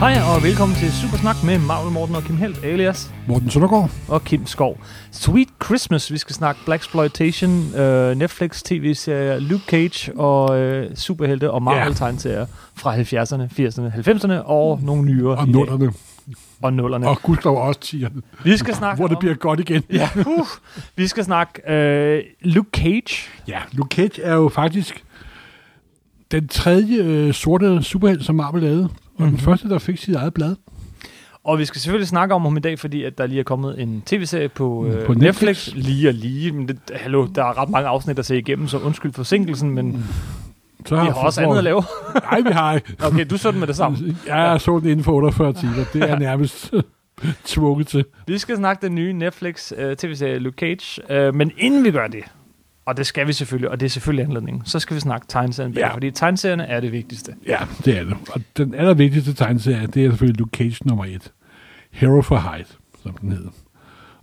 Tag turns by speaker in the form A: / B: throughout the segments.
A: Hej og velkommen til Supersnak med Marvel Morten og Kim Helt alias
B: Morten Søndergaard.
A: og Kim Skov. Sweet Christmas, vi skal snakke Black Exploitation, øh, Netflix tv-serier, Luke Cage og øh, superhelte og Marvel
B: Ja.
A: tegneserier fra 70'erne, 80'erne, 90'erne og nogle nyere
B: Mm. Og
A: i dag.
B: nullerne.
A: og nullerne.
B: Og gudskelov også tierne.
A: vi skal snakke
B: Hvor det
A: om-
B: bliver godt igen.
A: Ja, uh, vi skal snakke øh, Luke Cage.
B: Ja, Luke Cage er jo faktisk den tredje øh, sorte superhelt, som Marvel lavede. Og mm-hmm. den første, der fik sit eget blad.
A: Og vi skal selvfølgelig snakke om ham i dag, fordi at der lige er kommet en tv-serie på, øh, på
B: Mm, på
A: Netflix.
B: Netflix.
A: Lige og lige. Men det, hallo, der er ret mange afsnit at se igennem, så undskyld forsinkelsen, men vi
B: Så
A: har også andet at lave.
B: Nej, vi har ikke.
A: Okay, du så den med det samme.
B: Jeg så den inden for 48 timer. Det er nærmest tvunget til.
A: Vi skal snakke den nye Netflix øh, tv-serie Luke Cage. Øh, men inden vi gør det, og det skal vi selvfølgelig, og det er selvfølgelig anledningen, så skal vi snakke tegneserien bag, ja.
B: Ja.
A: fordi tegneserierne er det vigtigste.
B: Ja, det er det. Og den allervigtigste tegneserie, det er selvfølgelig Luke Cage nummer et. Hero for Hyde, som den hedder.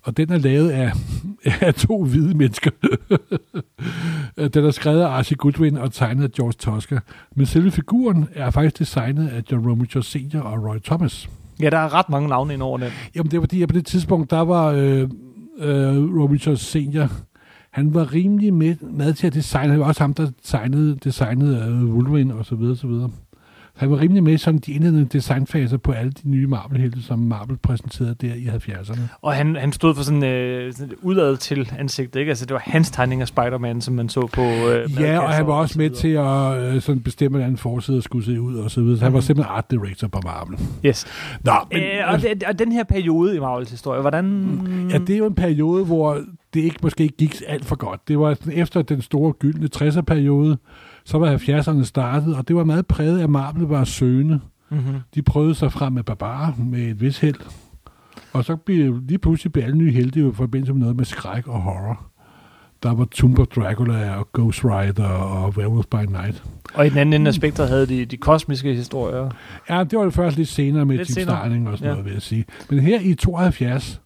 B: Og den er lavet af, af to hvide mennesker. den er skrevet af Archie Goodwin og tegnet af George Tosca. Men selve figuren er faktisk designet af John Romita Sr. og Roy Thomas.
A: Ja, der er ret mange navne ind over den.
B: Jamen det er fordi, at på det tidspunkt, der var øh, øh, Robinson Senior, han var rimelig med, med til at designe. Han var også ham, der designede, designede øh, Wolverine og så videre, så videre. Han var rimelig med i sådan de indledende designfaser på alle de nye Marvel-helte, som Marvel præsenterede der i 70'erne.
A: Og han, han stod for sådan, øh, sådan et udad til ansigt, ikke? Altså, det var hans tegning af Spider-Man, som man så på... Øh,
B: Ja, og
A: madkasser
B: han var også med
A: så
B: til at øh, sådan bestemme, hvordan forsiden skulle se ud og så videre. Så han var simpelthen art director på Marvel.
A: videre. Yes.
B: Nå,
A: Men, øh, og, det, og den her periode i Marvels historie, hvordan...
B: Ja,
A: Mm.
B: det er jo en periode, hvor det ikke måske ikke gik alt for godt. Det var sådan, efter den store gyldne 60'er-periode, så var 70'erne startet, og det var meget præget af, at Marvel var søgende.
A: Mm-hmm.
B: De prøvede sig frem med Barbar med et vis held. Og så blev lige pludselig blev alle nye helte jo i forbindelse med noget med skræk og horror. Der var Tomb of Dracula og Ghost Rider og Werewolf by Night.
A: Og i den anden ende af spektret havde de de kosmiske historier.
B: Ja, det var det først lidt senere med
A: Lidt
B: lidt Jim
A: senere.
B: Starling og sådan
A: Ja.
B: ja. noget, vil jeg sige. Men her i 72,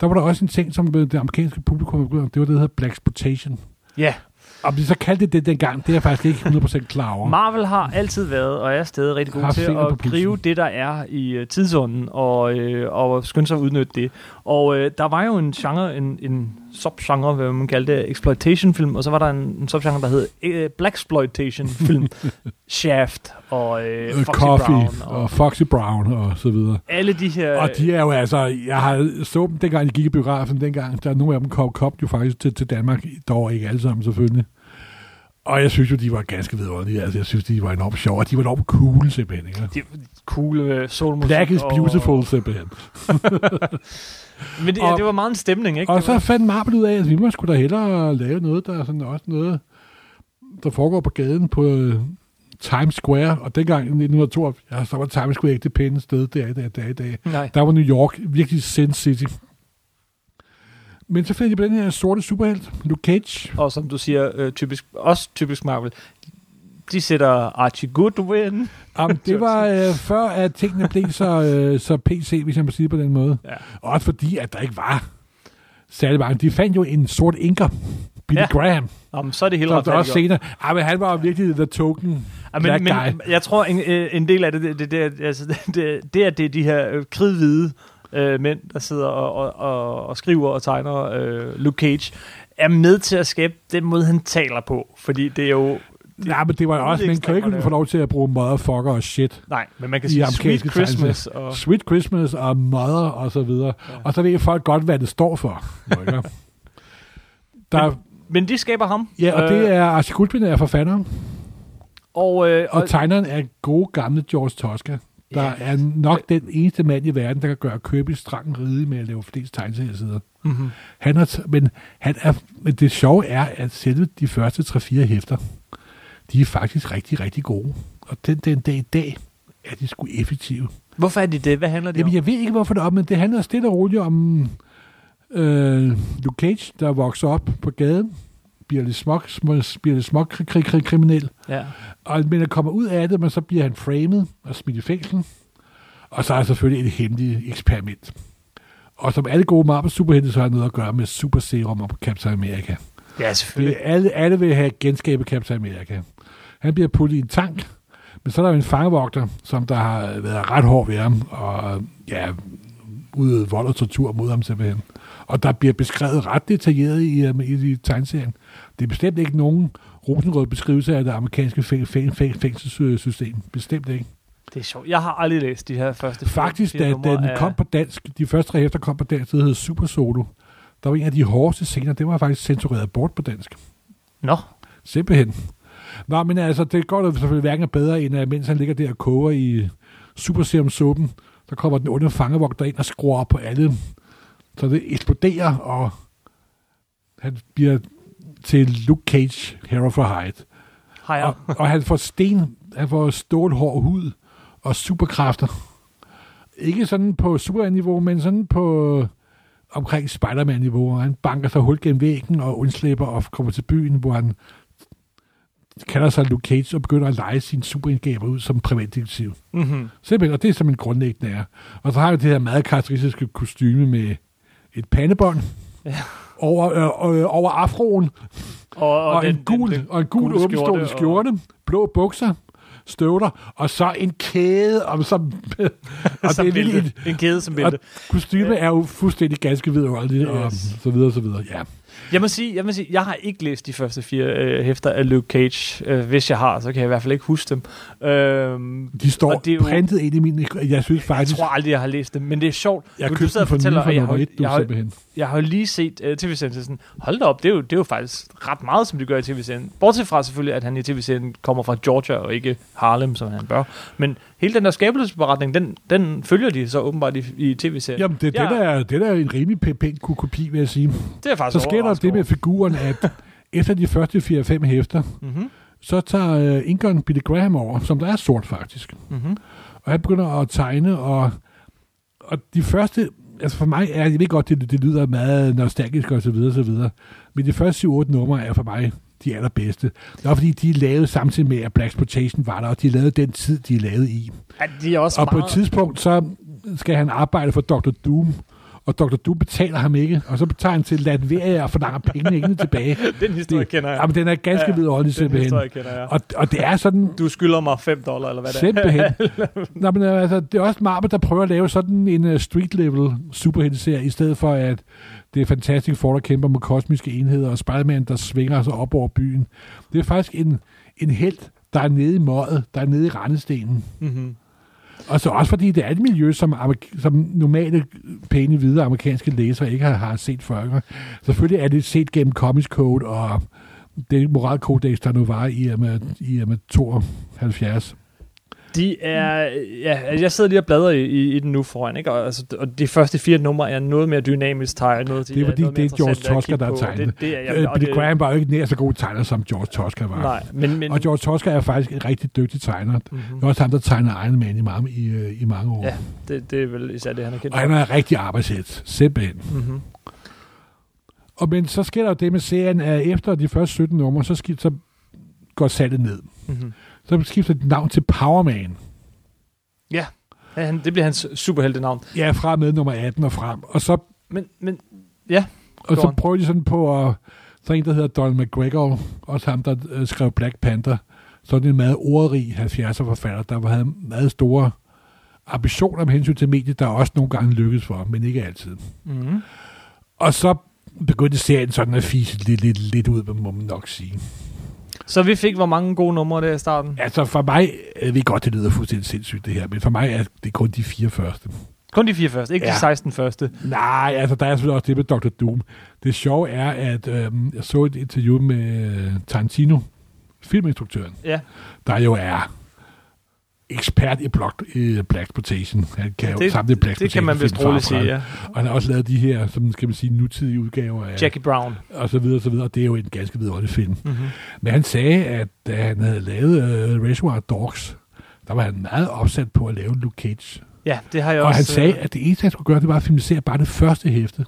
B: der var der også en ting, som øh, det amerikanske publikum var begyndt, det var det, der hedder Black Exploitation.
A: Ja,
B: Om de så kaldte det det dengang, det er jeg faktisk ikke 100% klar over.
A: Marvel har altid været og er stadig rigtig god
B: Har
A: til
B: fingeren på
A: at
B: pulsen.
A: gribe det, der er i øh, tidsånden, og, øh, og skynde sig at udnytte det. Og øh, der var jo en genre, en, en subgenre, hvad man kaldte det, exploitation-film, og så var der en, en subgenre, der hed øh, blaxploitation-film. Shaft og øh,
B: Øh,
A: Foxy
B: Coffee
A: Brown og, Øh,
B: og Foxy Brown og så videre.
A: alle de her...
B: Og de er jo altså, jeg har så dem dengang, de gik i biografen dengang, der nogle af dem kom, kom jo faktisk til, til Danmark, dog ikke alle sammen selvfølgelig. Og jeg synes jo, de var ganske vidunderlige. Altså, jeg synes, de var enormt sjove, og de var enormt cool simpelthen. Ikke?
A: de cool øh, soulmusik.
B: Black is
A: og-
B: beautiful simpelthen.
A: Men det,
B: Og-
A: det var meget en stemning, ikke?
B: Og
A: Det var-
B: så fandt Marvel ud af, at vi må skulle da hellere lave noget, der er sådan også noget, der foregår på gaden på øh, Times Square. Og dengang i 1972, så var Times Square ikke det pæne sted, det er i dag, det er i dag.
A: Nej.
B: Der var New York virkelig Sin City. Men så fandt de på den her sorte superhelt, Luke Cage.
A: Og som du siger, øh, typisk, også typisk Marvel, de sætter Archie Goodwin.
B: Om det var øh, før, at tingene blev så, øh, så PC, hvis jeg må sige det på den måde.
A: Ja.
B: Også fordi, at der ikke var særlig mange. De fandt jo en sort inker, Billy
A: Ja.
B: ja. Graham.
A: Jamen, så er det hele
B: Som der
A: retfærdigt
B: også senere. Ej, men han var jo virkelig the token.
A: Ja, men,
B: Black
A: men jeg tror, en, øh, en del af det, det, det, det, er- altså, det, det er det er de her øh, kridhvide øh, mænd, der sidder og, og, og, og skriver og tegner øh, Luke Cage, er med til at skabe den måde, han taler på. Fordi det er jo...
B: Ja, men det var jo også, man kan jo
A: ekstremt,
B: ikke få lov til at bruge motherfucker og shit.
A: Nej, men man kan
B: I
A: sige Sweet
B: amerikanske
A: Christmas. Og,
B: Sweet Christmas og mother og så videre.
A: Ja.
B: Ja. Og så ved folk godt, hvad det står for. jo, ikke? Der,
A: men de skaber ham. Øh,
B: ja, og det er Archie Goodwin, der er forfatteren,
A: Og, øh, og,
B: og tegneren er gode gamle George Tosca. Der
A: Ja.
B: er nok den eneste mand i verden, der kan gøre Kirby strang ride med at lave flest tegneseriesider.
A: Mhm.
B: Han har, t- men, han er, men det sjove er, at selve de første 3-4 hæfter, de er faktisk rigtig, rigtig gode. Og den, den dag i dag er de sgu effektive.
A: Hvorfor er de det? Hvad handler det
B: Jamen,
A: om?
B: jeg ved ikke, hvorfor det er op, men det handler stille og roligt om øh, Luke Cage, der vokser op på gaden, bliver lidt smuk, sm- bliver lidt smuk kri- kri- kri- kriminel,
A: Ja.
B: og, men han kommer ud af det, men så bliver han framed og smidt i fængsel. Og så er der selvfølgelig et hemmeligt eksperiment. Og som alle gode Marvel superhelte, så har det noget at gøre med Super Serum og Captain America.
A: ja,
B: Det,
A: selvfølgelig.
B: alle, alle vil have genskabet Captain America. Han bliver puttet i en tank, Men så er der jo en fangevogter, som der har været ret hård ved ham, og ja, udøvet vold og tortur mod ham simpelthen. Og der bliver beskrevet ret detaljeret i, øhm, i, i tegneserien. Det er bestemt ikke nogen rosenrød beskrivelse af det amerikanske fæng, fæng, fæng, fængselssystem. Bestemt ikke.
A: Det er sjovt. Jeg har aldrig læst de her første fire-
B: Faktisk,
A: fire
B: da
A: numre
B: den
A: af-
B: kom på dansk, de første tre hæfter kom på dansk, det hed Super Solo. Der var en af de hårdeste scener, det var faktisk censureret bort på dansk.
A: Nå,
B: Simpelthen. Nå, men altså, det går da selvfølgelig hverken er bedre, end at mens han ligger der og koger i Super Serum suppen, så kommer den onde fangevogter ind og skruer op på alle. Så det eksploderer, og han bliver til Luke Cage, Hero for Hyde.
A: har jeg.
B: Og, og han får sten, han får stålhård hud og superkræfter. Ikke sådan på superniveau, men sådan på omkring Spider-Man-niveau. Og Han banker sig hul gennem væggen og undslipper og kommer til byen, hvor han kalder sig Luke Cage og begynder at lege sine superindgaber ud som privatdetektiv.
A: Mm-hmm.
B: Simpelthen, og det er som en grundlæggende er. Og så har vi det her meget karakteristiske kostyme med et pandebånd
A: Ja.
B: over, øh, øh, over afroen,
A: Og, og,
B: og, og,
A: den,
B: en gul,
A: den, den,
B: og en gul
A: gule
B: åbenstående
A: skjorte
B: skjorte, blå bukser, støvler, og så en kæde om som... og
A: som
B: det er lige
A: bælte.
B: en,
A: En kæde som
B: og
A: bælte.
B: kostyme er jo fuldstændig ganske vidunderligt, og
A: Yes.
B: så videre, så videre. Ja.
A: Jeg må sige, jeg må sige, jeg har ikke læst de første fire øh, hæfter af Luke Cage. Øh, hvis jeg har, så kan jeg i hvert fald ikke huske dem. Øh,
B: De står
A: Og det er jo-
B: printet ind i min... Jeg synes
A: jeg
B: faktisk,
A: tror aldrig, jeg har læst dem, men det er sjovt.
B: jeg,
A: nu,
B: jeg
A: du
B: købte
A: sidder
B: den
A: og
B: for
A: fortæller,
B: nylig for
A: og jeg har,
B: nummer
A: jo-
B: et, du
A: jeg, har,
B: simpelthen.
A: jeg har jo lige set uh, tv-sendelsen. Hold da op, det er, jo, det er jo faktisk ret meget, som de gør i tv-serien. Bortset fra selvfølgelig, at han i tv-serien kommer fra Georgia og ikke Harlem, som han bør. Men hele den der skabelsesberetning, den, den følger de så åbenbart i, i tv-serien.
B: Jamen, det, det,
A: Ja. Altså,
B: der er, det der er en rimelig pæ- pæn ko- kopi, vil jeg sige.
A: det er faktisk
B: Så sker der
A: overrasket
B: det med
A: over.
B: figuren, at efter de første 4-5 hæfter,
A: Mhm,
B: så tager uh, Ingon Billy Graham over, som der er sort faktisk.
A: mhm.
B: Og han begynder at tegne, og, og de første, altså for mig er, jeg ved godt, det, det lyder meget nostalgisk og så videre, så videre, men de første 7-8 numre er for mig de allerbedste. Det var fordi, de er lavet samtidig med, at Black Exploitation var der, og de lavede den tid, de er lavet i.
A: Ja, de er også
B: Og på et
A: meget...
B: tidspunkt, så skal han arbejde for Dr. Doom, og Dr. Doom betaler ham ikke, og så betaler han til Latveria og forlanger pengene ikke tilbage.
A: Den historie
B: Det-
A: kender jeg.
B: Jamen, den er ganske
A: Ja,
B: ja, vidunderlig
A: den
B: simpelthen.
A: historie kender jeg.
B: Og, og det er sådan,
A: Du skylder mig 5 dollar, eller hvad det er.
B: Simpelthen. Nå, men altså, det er også Marvel, der prøver at lave sådan en uh, street-level superhelteserie, i stedet for at det er Fantastic Four, der kæmper med kosmiske enheder, og Spider-Man, der svinger sig op over byen. Det er faktisk en, en held, der er nede i møget, der er nede i rendestenen.
A: Mhm.
B: Og så også fordi det er et miljø, som, amerik- som normale pæne hvide amerikanske læsere ikke har, har set før. Selvfølgelig er det set gennem Comics Code og det moralkodex, der nu var i og med, i og med 72.
A: De er, ja, altså, jeg sidder lige og bladrer i, i, i den nu foran, ikke? Og, altså, og de første fire numre er noget mere dynamisk tegnet. De
B: Det er fordi,
A: noget mere
B: det er George
A: interessante at
B: Tosca,
A: kigge
B: der har
A: på, og
B: tegnet
A: Det, det er,
B: Jamen,
A: jamen,
B: øh,
A: og
B: Billy
A: det,
B: Graham var jo ikke nær så god tegner, som George Tosca var.
A: Nej, men... men
B: Og George Tosca er faktisk en rigtig dygtig tegner. Det
A: Mhm.
B: er også ham, der tegner Iron Man i mange, i, øh, i mange år.
A: Ja,
B: Ja.
A: det, det er vel især det, han er kendt
B: Og han er en rigtig arbejdshæt, simpelthen.
A: Mm-hmm.
B: Og men så sker der jo det med serien, at efter de første 17 numre, så, skift, så går salget ned.
A: Mm-hmm.
B: Så skifter det navn til Power Man.
A: Ja, han, det bliver hans superheltenavn.
B: Ja, fra og med nummer 18 og frem. Og så,
A: Men, men
B: og
A: Go
B: så
A: on.
B: prøver de sådan på at... Så er en, der hedder Donald McGregor, også ham, der øh, skrev Black Panther. Sådan en meget ordrig 70'er forfatter, der havde meget store ambitioner med hensyn til mediet, der også nogle gange lykkedes for, men ikke altid. Mhm.
A: mm-hmm.
B: Og så begyndte serien sådan at fise lidt, lidt, lidt ud, må man nok sige.
A: Så vi fik hvor mange gode numre der i starten?
B: Altså for mig, jeg ved godt, det lyder fuldstændig sindssygt det her, men for mig er det kun de fire første.
A: Kun de fire første, ikke ja. de
B: Ja.
A: 16 første.
B: Nej, altså der er selvfølgelig også det med Dr. Doom. Det sjove er, at øhm, jeg så et interview med øh, Tarantino, filminstruktøren,
A: Ja,
B: der jo er ekspert i block, i Black Exploitation. Han kan jo
A: det,
B: samle Black
A: det kan man vist
B: Exploitation-film
A: roligt
B: fra-
A: sige, ja.
B: Og han har også lavet de her, som skal man sige, nutidige udgaver af,
A: Jackie Brown.
B: og så videre, og så videre. Og det er jo en ganske vidunderlig film.
A: Mm-hmm.
B: Men han sagde, at da han havde lavet øh, Reservoir Dogs, der var han meget opsat på at lave Luke Cage.
A: Ja, det har jeg
B: Og
A: også...
B: han
A: øh,
B: sagde, at det eneste, han skulle gøre, det var at filmisere bare det første hæfte.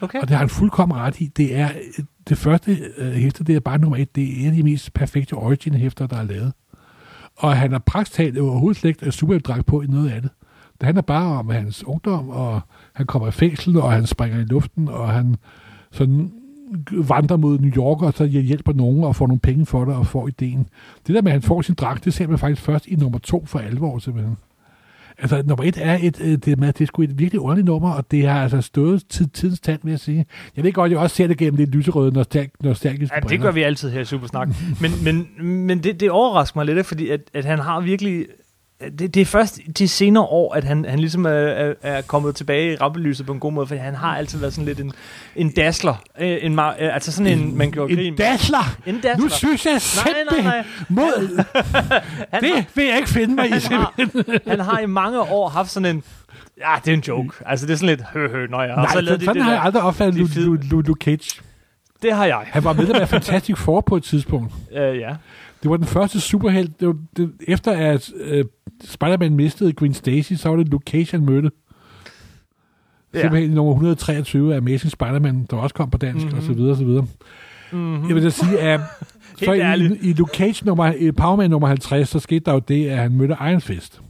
A: Okay.
B: Og det har han fuldkommen ret i. Det er øh, det første øh, hæfte, det er bare nummer et. Det er en af de mest perfekte origin-hæfter, der er lavet. Og han har praktisk talt overhovedet slet ikke superdragt på i noget af det. Det handler bare om hans ungdom, og han kommer i fængsel, og han springer i luften, og han sådan vandrer mod New York, og så hjælper nogen og får nogle penge for det, og får ideen. Det der med, at han får sin dragt, det ser man faktisk først i nummer to for alvor, simpelthen. Altså, nummer et er et, øh, det, er med, det er sgu et virkelig underligt nummer, og det har altså stået tid, tidens tand, vil jeg sige. Jeg ved godt, jeg også ser det gennem lidt lyserøde nostalg, nostalgiske
A: Ja, det gør vi altid her i Supersnak. Men, men, men det, det overrasker mig lidt, ikke? fordi at, at han har virkelig... Det, det er først de senere år, at han, han ligesom er, er, er kommet tilbage i rampelyset på en god måde, for han har altid været sådan lidt en, en dassler. Øh, En, ma- øh, altså sådan en, man gjorde grin.
B: En dassler!
A: en dassler.
B: Nu synes jeg
A: Nej, nej,
B: simpelthen
A: nej.
B: mod...
A: Han, har,
B: Det vil jeg ikke finde mig i,
A: han,
B: simpelthen.
A: har, han har i mange år haft sådan en... Ja, det er en joke. Altså, det er sådan lidt... Hø, hø, nøj, og
B: Nej,
A: så
B: så
A: lavede de
B: sådan det,
A: det,
B: har jeg
A: der.
B: aldrig opfattet
A: de fede-
B: Lu- Lu- Lu- Luke Cage.
A: det har jeg.
B: Han var medlem af Fantastic Four på et tidspunkt.
A: Øh, ja.
B: Det var den første superhelt. Det var det, efter at øh, Spider-Man mistede Gwen Stacy, så var det Luke Cage, han mødte.
A: Ja.
B: Simpelthen i nummer 123 af Amazing Spider-Man, der også kom på dansk,
A: Mhm.
B: mm-hmm. og så videre, og så videre. Mm-hmm. Jeg vil da sige, at så
A: ærligt.
B: i, i Luke Cage nummer, i Power Man nummer 50, så skete der jo det, at han mødte Iron Fist.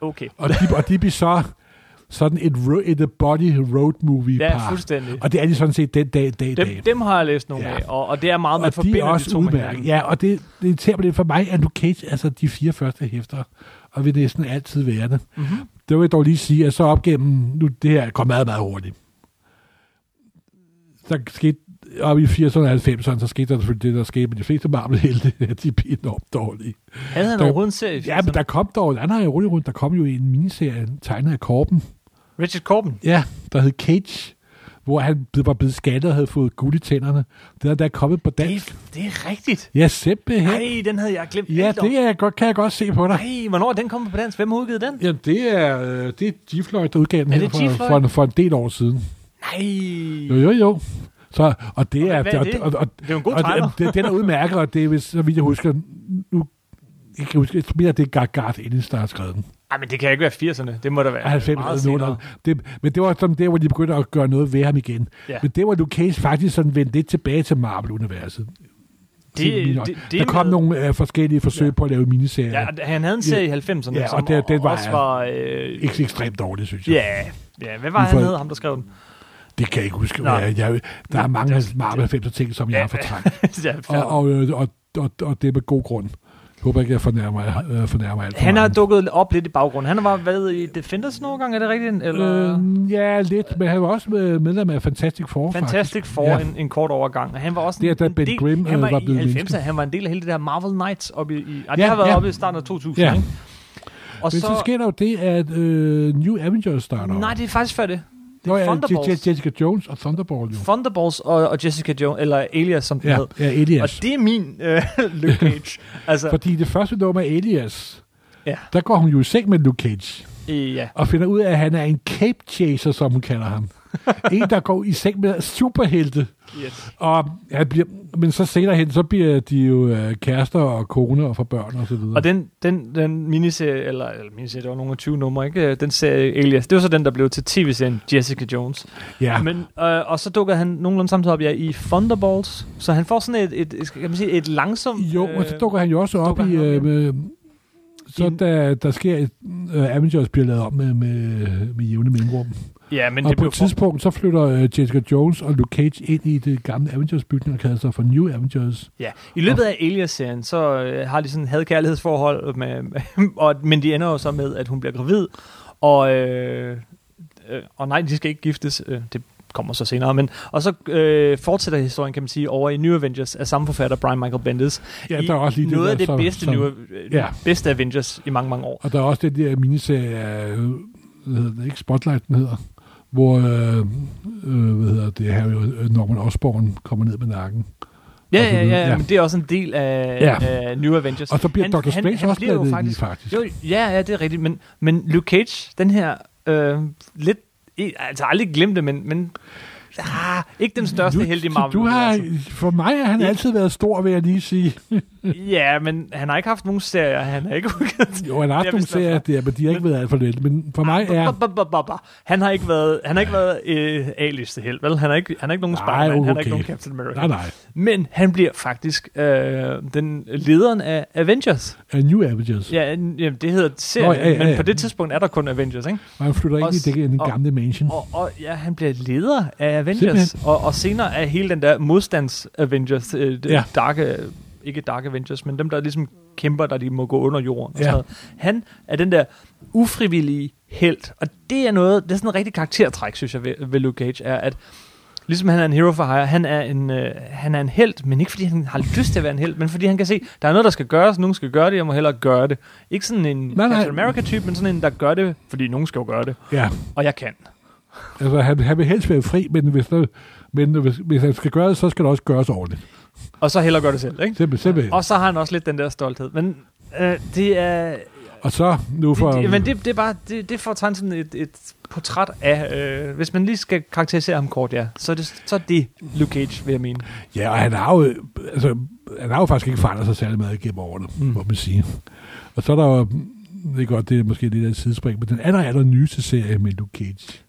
A: Okay.
B: Og de, og de blev så sådan et, ro- et body road movie par.
A: Ja, fuldstændig.
B: Og det er de sådan set den dag, dag, dag.
A: Dem, dem har jeg læst nogle
B: Ja.
A: ja. af, og, og det er meget, man
B: og de er
A: forbinder de
B: også
A: to med
B: udmærket.
A: hinanden.
B: Ja, og det, det irriterer mig lidt for mig, at Luke Cage, altså de fire første hæfter, og vil næsten altid være det.
A: Mm-hmm.
B: Det vil jeg dog lige sige, at så op gennem, nu det her går meget, meget hurtigt. Så skete op i 80'erne og 90'erne, så skete der selvfølgelig det, der skete med de fleste Marvel-helte, at de blev enormt dårlige.
A: Havde han
B: Der-
A: overhovedet en serie?
B: Ja, men der kom dog, han har jo roligt rundt, der kom jo en miniserie tegnet af Korben,
A: Richard Corbin.
B: Ja, der hed Cage, hvor han ble- var blevet skattet og havde fået guld i tænderne. Den er der kommet på
A: Det,
B: dansk.
A: er- det er rigtigt.
B: Ja, simpelthen.
A: Nej, den havde jeg glemt.
B: Ja, det er, godt, kan jeg godt se på dig.
A: Nej, hvornår er den kommet på dansk? Hvem har udgivet den?
B: Jamen, det er, øh, det er G-Floyd, der udgav den
A: Er
B: her
A: det
B: for,
A: G-Floyd?
B: for, en, for en del år siden.
A: Nej.
B: Jo, jo, jo. Så, og det er...
A: hvad er det?
B: Og, og,
A: Det er jo en god
B: og,
A: tegner.
B: og det, den er udmærket, og det er, hvis- så vidt jeg husker, nu, jeg kan huske, jeg mener, det er Gargard Ellis, der har skrevet den.
A: Ej, men det kan ikke være 80'erne. Det må da være
B: Ja, 90
A: meget
B: eller
A: senere.
B: noget. Det, men det var sådan der, hvor de begyndte at gøre noget ved ham igen.
A: Ja.
B: Men det var Luke Cage faktisk sådan vendt lidt tilbage til Marvel-universet.
A: Det,
B: Til mine øjne.
A: det, det,
B: der kom nogle øh, forskellige forsøg
A: Ja.
B: på at lave miniserier.
A: Ja,
B: Ja.
A: og han havde en serie i 90'erne,
B: Ja,
A: som
B: og det- det var-
A: også var... Øh,
B: Ikke ekstremt dårligt, synes jeg.
A: ja, ja, hvad var
B: Ufor-
A: han hed, ham der skrev den?
B: Det kan jeg ikke huske.
A: Nå.
B: Jeg, jeg, der er mange af Marvel 90 ting, som jeg
A: Ja.
B: har fortrængt.
A: ja, fair.
B: Og, og, øh, og, og, og det er med god grund. Jeg håber ikke, jeg fornærmer, øh, fornærmer alt for
A: han har
B: mange.
A: dukket op lidt i baggrunden. Han var været i Defenders nogle gange, er det rigtigt? Eller?
B: Øh, ja, lidt, men han var også med- medlem af Fantastic Four, faktisk.
A: Fantastic Four
B: Ja.
A: ja. en, en kort overgang. Og Han var også
B: Det er,
A: en,
B: da
A: en
B: Ben
A: del,
B: Grimm, øh,
A: han var,
B: var
A: i
B: blevet
A: 90'erne,
B: menneske.
A: han var en del af hele det der Marvel Knights oppe i... i ja, det
B: Ja,
A: har været
B: ja.
A: oppe i starten af 2000,
B: Ja.
A: ja. ikke? Og så...
B: Men så, sker der jo det, at øh, New Avengers starter.
A: Nej, det er faktisk før det.
B: det er
A: Thunderbolts.
B: Jessica Jones og Thunderbolt jo.
A: Thunderbolts og, og Jessica Jones, eller Alias, som den
B: Ja,
A: hed.
B: ja Elias.
A: Og det er min øh, Luke Cage. altså,
B: Fordi det første nummer af Elias,
A: Ja.
B: der går hun jo i seng med Luke Cage.
A: øh, ja.
B: Og finder ud af, at han er en cape chaser, som hun kalder ham. en, der går i seng med superhelte.
A: Yes.
B: Og han bliver, men så senere hen, så bliver de jo øh, kærester og kone og får børn og så videre.
A: Og den, den, den miniserie, eller, eller miniserie, det var nogle af 20 numre, ikke? Øh, Den serie Alias, det var så den, der blev til tv-serien Jessica Jones.
B: ja.
A: Men, øh, og så dukker han nogenlunde samtidig op ja, i Thunderbolts, så han får sådan et, et, et kan man sige, et langsomt...
B: Jo, øh, og så dukker han jo også op
A: dukker
B: i...
A: han op, ja.
B: Øh, med, så
A: En-
B: da der sker et, øh, Avengers bliver lavet om med, med, med jævne mellemrum.
A: Ja, men
B: og
A: det
B: på
A: blev
B: et
A: for,
B: tidspunkt, så flytter øh, Jessica Jones og Luke Cage ind i det gamle Avengers-bygning og kalder sig for New Avengers.
A: ja. I løbet af Alias-serien, så øh, har de sådan et hadkærlighedsforhold, med, med, og, men de ender jo så med, at hun bliver gravid, og, øh, øh, og nej, de skal ikke giftes, øh, det kommer så senere, men, og så øh, fortsætter historien, kan man sige, over i New Avengers af samme forfatter, Brian Michael Bendis.
B: Ja,
A: I
B: der er også lige det
A: noget
B: der,
A: af det
B: som-
A: bedste,
B: som-
A: New, øh,
B: ja.
A: bedste Avengers i mange, mange år.
B: Og der er også den der miniserie, af, øh, hvad hedder det, ikke Spotlight, den hedder, hvor øh, øh, hvad hedder det, Harry, øh, Norman Osborn kommer ned med nakken.
A: Ja,
B: Og så
A: ja,
B: videre.
A: ja,
B: Ja.
A: ja, men det er også en del af,
B: Ja.
A: ja. af New Avengers.
B: Og så bliver
A: Han-
B: Dr.
A: han-
B: Strange
A: han
B: også
A: bliver jo
B: lavet faktisk,
A: faktisk-
B: faktisk.
A: Jo, ja, ja, det er rigtigt, men, men Luke Cage, den her øh, lidt, eh, altså aldrig glemt det, men, men ah, ikke den største held i
B: så
A: Marvel.
B: Du har, for mig har han
A: Ja.
B: altid været stor, vil jeg lige sige.
A: altså. ja, men han har ikke haft nogen serier, han har ikke udgivet.
B: Jo, han har haft
A: Det er Ah,
B: nogle
A: vist nok
B: serier, der, men de har ikke været alt for lidt. Men for mig er...
A: Ba, ba, ba, ba. Han har ikke været, han har ikke været øh, A-liste held, vel? Han har ikke, han har ikke nogen
B: Nej,
A: Spider-Man, han har
B: okay.
A: ikke nogen Captain America.
B: Nej, nej.
A: Men han bliver faktisk øh, den lederen af Avengers.
B: A New Avengers.
A: Ja, en- jamen, det hedder serien,
B: Nå, ja, ja, ja.
A: men på det tidspunkt er der kun Avengers, ikke?
B: Og han flytter ind i
A: Også-
B: det den
A: og-
B: gamle mansion.
A: Og, og ja, han bliver leder af Avengers,
B: Simpelthen.
A: og, og senere af hele den der modstands-Avengers, øh,
B: Ja.
A: ja. dark, øh, ikke Dark Avengers, men dem, der ligesom kæmper, der de må gå under jorden og
B: Ja.
A: sådan noget. Han er den der ufrivillige held, og det er noget, det er sådan en rigtig karaktertræk, synes jeg, ved, ved Luke Cage, er, at ligesom han er en hero for hire, han er en, øh, han er en held, men ikke fordi han har lyst til at være en held, men fordi han kan se, der er noget, der skal gøres, nogen skal gøre det, jeg må hellere gøre det. Ikke sådan en
B: Nej, nej.
A: Captain America-type, men sådan en, der gør det, fordi nogen skal jo gøre det,
B: Ja,
A: og jeg kan.
B: altså han, han vil helst være fri, men, hvis, der, men hvis, hvis han skal gøre det, så skal det også gøres ordentligt.
A: Og så hellere gøre det selv, ikke?
B: Simpel, simpelthen.
A: Og så har han også lidt den der stolthed. Men øh, det er...
B: Og så nu for...
A: Det, det, men det, det er bare... Det, det får tegnet sådan et, et portræt af... Øh, hvis man lige skal karakterisere ham kort, ja. Så er det, så er det Luke Cage, vil jeg mene.
B: Ja, og han har jo, altså, han har jo faktisk ikke forandret sig særlig meget gennem årene, mm.
A: Mm.
B: må man sige. Og så er der jo, det er godt, det er måske lidt af et sidespring, men den aller, aller nyeste serie med Luke Cage,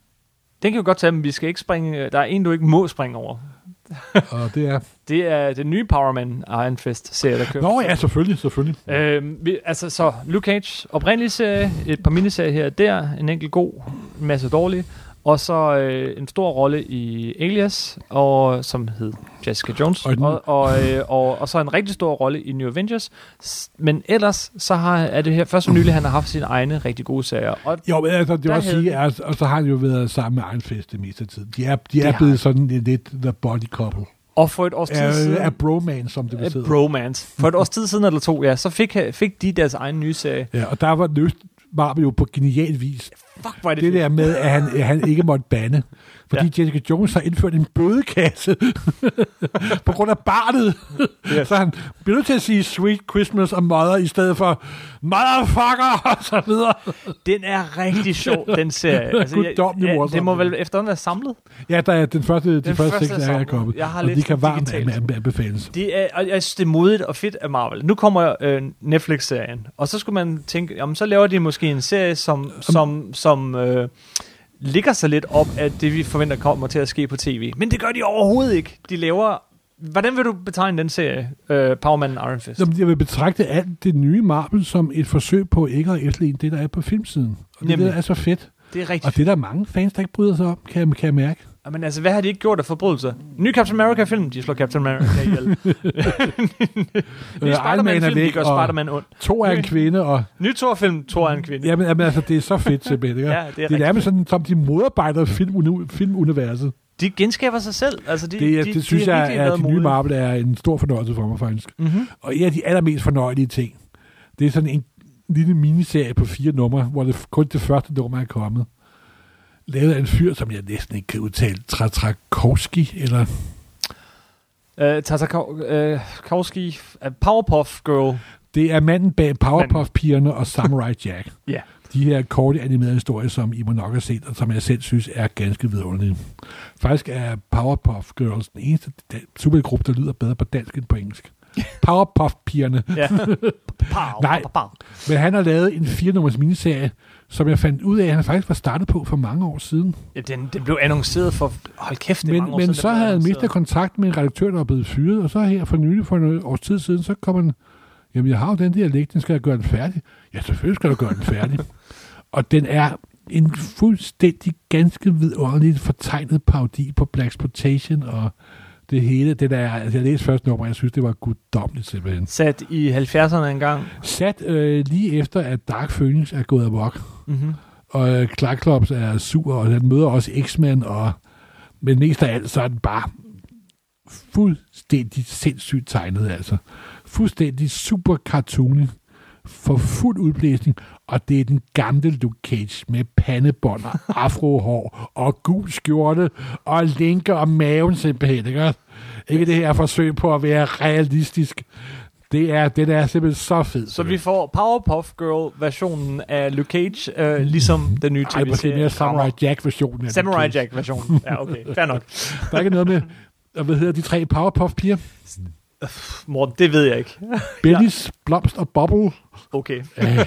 A: Den kan vi godt tage, men vi skal ikke springe... Der er en, du ikke må springe over.
B: og det er...
A: Det er den nye Power Man Iron Fist-serie, der kører.
B: Nå ja, selvfølgelig, selvfølgelig.
A: Øh, vi, altså, så Luke Cage, oprindelige serie, et par miniserier her og der, en enkelt god, en masse dårlige, og så øh, en stor rolle i Alias, og, som hed Jessica Jones,
B: Og
A: og,
B: den-
A: og, og, øh, og, og så en rigtig stor rolle i New Avengers. S- Men ellers, så har, er det her først for nylig, han har haft sine egne rigtig gode serier. Og
B: Jo, men altså, det vil
A: Der
B: også
A: havde
B: sige,
A: vi-
B: altså, og så har han jo været sammen med Arnfest det meste af tiden. De er, de er
A: har
B: blevet sådan en lidt the body couple.
A: Og for et års tid
B: Er,
A: siden...
B: er bromance, som det vil
A: af
B: sidde.
A: bromance. For et års tid siden eller to, ja, så fik, fik de deres egen nye serie.
B: Ja, og der var løst Marvel jo på genial vis.
A: Fuck, hvor er det,
B: Det
A: fedt.
B: der med, at han, at han ikke måtte bande. Fordi ja.
A: Ja.
B: Jessica Jones har indført en bødekasse på grund af barnet.
A: Yes.
B: Så han bliver nødt til at sige Sweet Christmas og Mother i stedet for Motherfucker og så videre.
A: Den er rigtig sjov, den serie. Altså,
B: Guddommelig morsom.
A: det må vel efterhånden være samlet.
B: Ja, der er den første, de
A: Den
B: første
A: første
B: seks er
A: samling.
B: jeg kommet.
A: Jeg har
B: og de
A: læst
B: kan
A: den
B: varmt
A: digitalt.
B: anbe- anbefales.
A: Det er, og jeg synes, det er modigt og fedt af Marvel. Nu kommer øh, Netflix-serien, og så skulle man tænke, jamen, så laver de måske en serie, som, som, som øh, ligger sig lidt op af det, vi forventer kommer til at ske på tv. Men det gør de overhovedet ikke. De laver... Hvordan vil du betegne den serie, øh, Powerman Iron Fist?
B: Nå, men Jeg vil betragte alt det nye Marvel som et forsøg på ikke at efterligne det, der er på filmsiden. Og det,
A: Nemlig.
B: der er så fedt.
A: Det er rigtigt.
B: Og det er der mange fans, der ikke bryder sig om, kan, jeg- kan jeg mærke.
A: Men altså, hvad har de ikke gjort af forbrydelser? Ny Captain America-film, de slår Captain America ihjel. Ny
B: Øh, Iron Man er
A: Spider-Man-film, de
B: væk,
A: gør
B: og-
A: Spider-Man ondt.
B: To er en kvinde, og
A: Ny Thor-film, Thor er en kvinde.
B: Jamen, jamen altså, det er så fedt simpelthen. Ikke?
A: Ja, det er
B: det er
A: rigtig
B: nærmest sådan, som de modarbejder filmunu- filmuniverset.
A: De genskaber sig selv. Altså, de,
B: Det, er,
A: de,
B: det, det synes
A: de har
B: jeg,
A: virkelig
B: at
A: været
B: de nye
A: modige.
B: Marvel er en stor fornøjelse for mig faktisk.
A: Mhm.
B: Og en af de allermest fornøjelige ting, det er sådan en lille miniserie på fire numre, hvor det f- kun det første nummer er kommet. Lavet af en fyr, som jeg næsten ikke kan udtale, Tratrakowski, eller
A: Øh, Tartakovsky,
B: øh,
A: uh, Powerpuff Girl.
B: det er manden bag Powerpuff-pigerne og Samurai Jack.
A: Ja.
B: de her korte animerede historier, som I må nok have set, og som jeg selv synes er ganske vidunderlige. Faktisk er Powerpuff Girls den eneste da- supergruppe, der lyder bedre på dansk end på engelsk. Powerpuff-pigerne.
A: ja.
B: Nej.
A: Nej.
B: Men han har lavet en 4-nummers miniserie, som jeg fandt ud af, at han faktisk var startet på for mange år siden.
A: Ja, den, den blev annonceret for... Hold kæft, det er
B: Men,
A: mange år
B: men
A: siden, den
B: så
A: blev
B: havde han
A: annonceret.
B: mistet kontakt med en redaktør, der var blevet fyret, og så her for nylig, for noget års tid siden, så kom han, jamen jeg har jo den der lægning, skal jeg gøre den færdig? Ja, selvfølgelig skal du gøre den færdig. og den er en fuldstændig ganske vidunderligt fortegnet parodi på Black Exploitation og det hele. Det der, altså jeg læste første nummer, og jeg synes, det var guddommeligt simpelthen.
A: Sat i 70'erne engang.
B: Sat øh, lige efter, at Dark Phoenix er gået amok,
A: Mm-hmm.
B: og øh, Clark Klops er sur, og han møder også X-Men, og, men mest af alt, så er den bare fuldstændig sindssygt tegnet, altså. Fuldstændig super cartoony, for fuld udblæsning, og det er den gamle Luke Cage med pandebånd og afrohår og gul skjorte og linker og maven simpelthen, ikke? også? Ikke det her forsøg på at være realistisk. Det er, det er simpelthen så fedt.
A: Så vi får Powerpuff Girl-versionen af Luke Cage, øh, ligesom den nye
B: Ej, måske
A: tv-serie.
B: mere Samurai Jack-versionen. af Luke
A: Samurai
B: Cage.
A: Jack-versionen. Ja, okay. Fair nok.
B: Der er ikke noget med, og hvad hedder de tre Powerpuff-piger?
A: Morten, det ved jeg ikke.
B: Bennys Blomst og Bobble.
A: Okay.
B: Øh,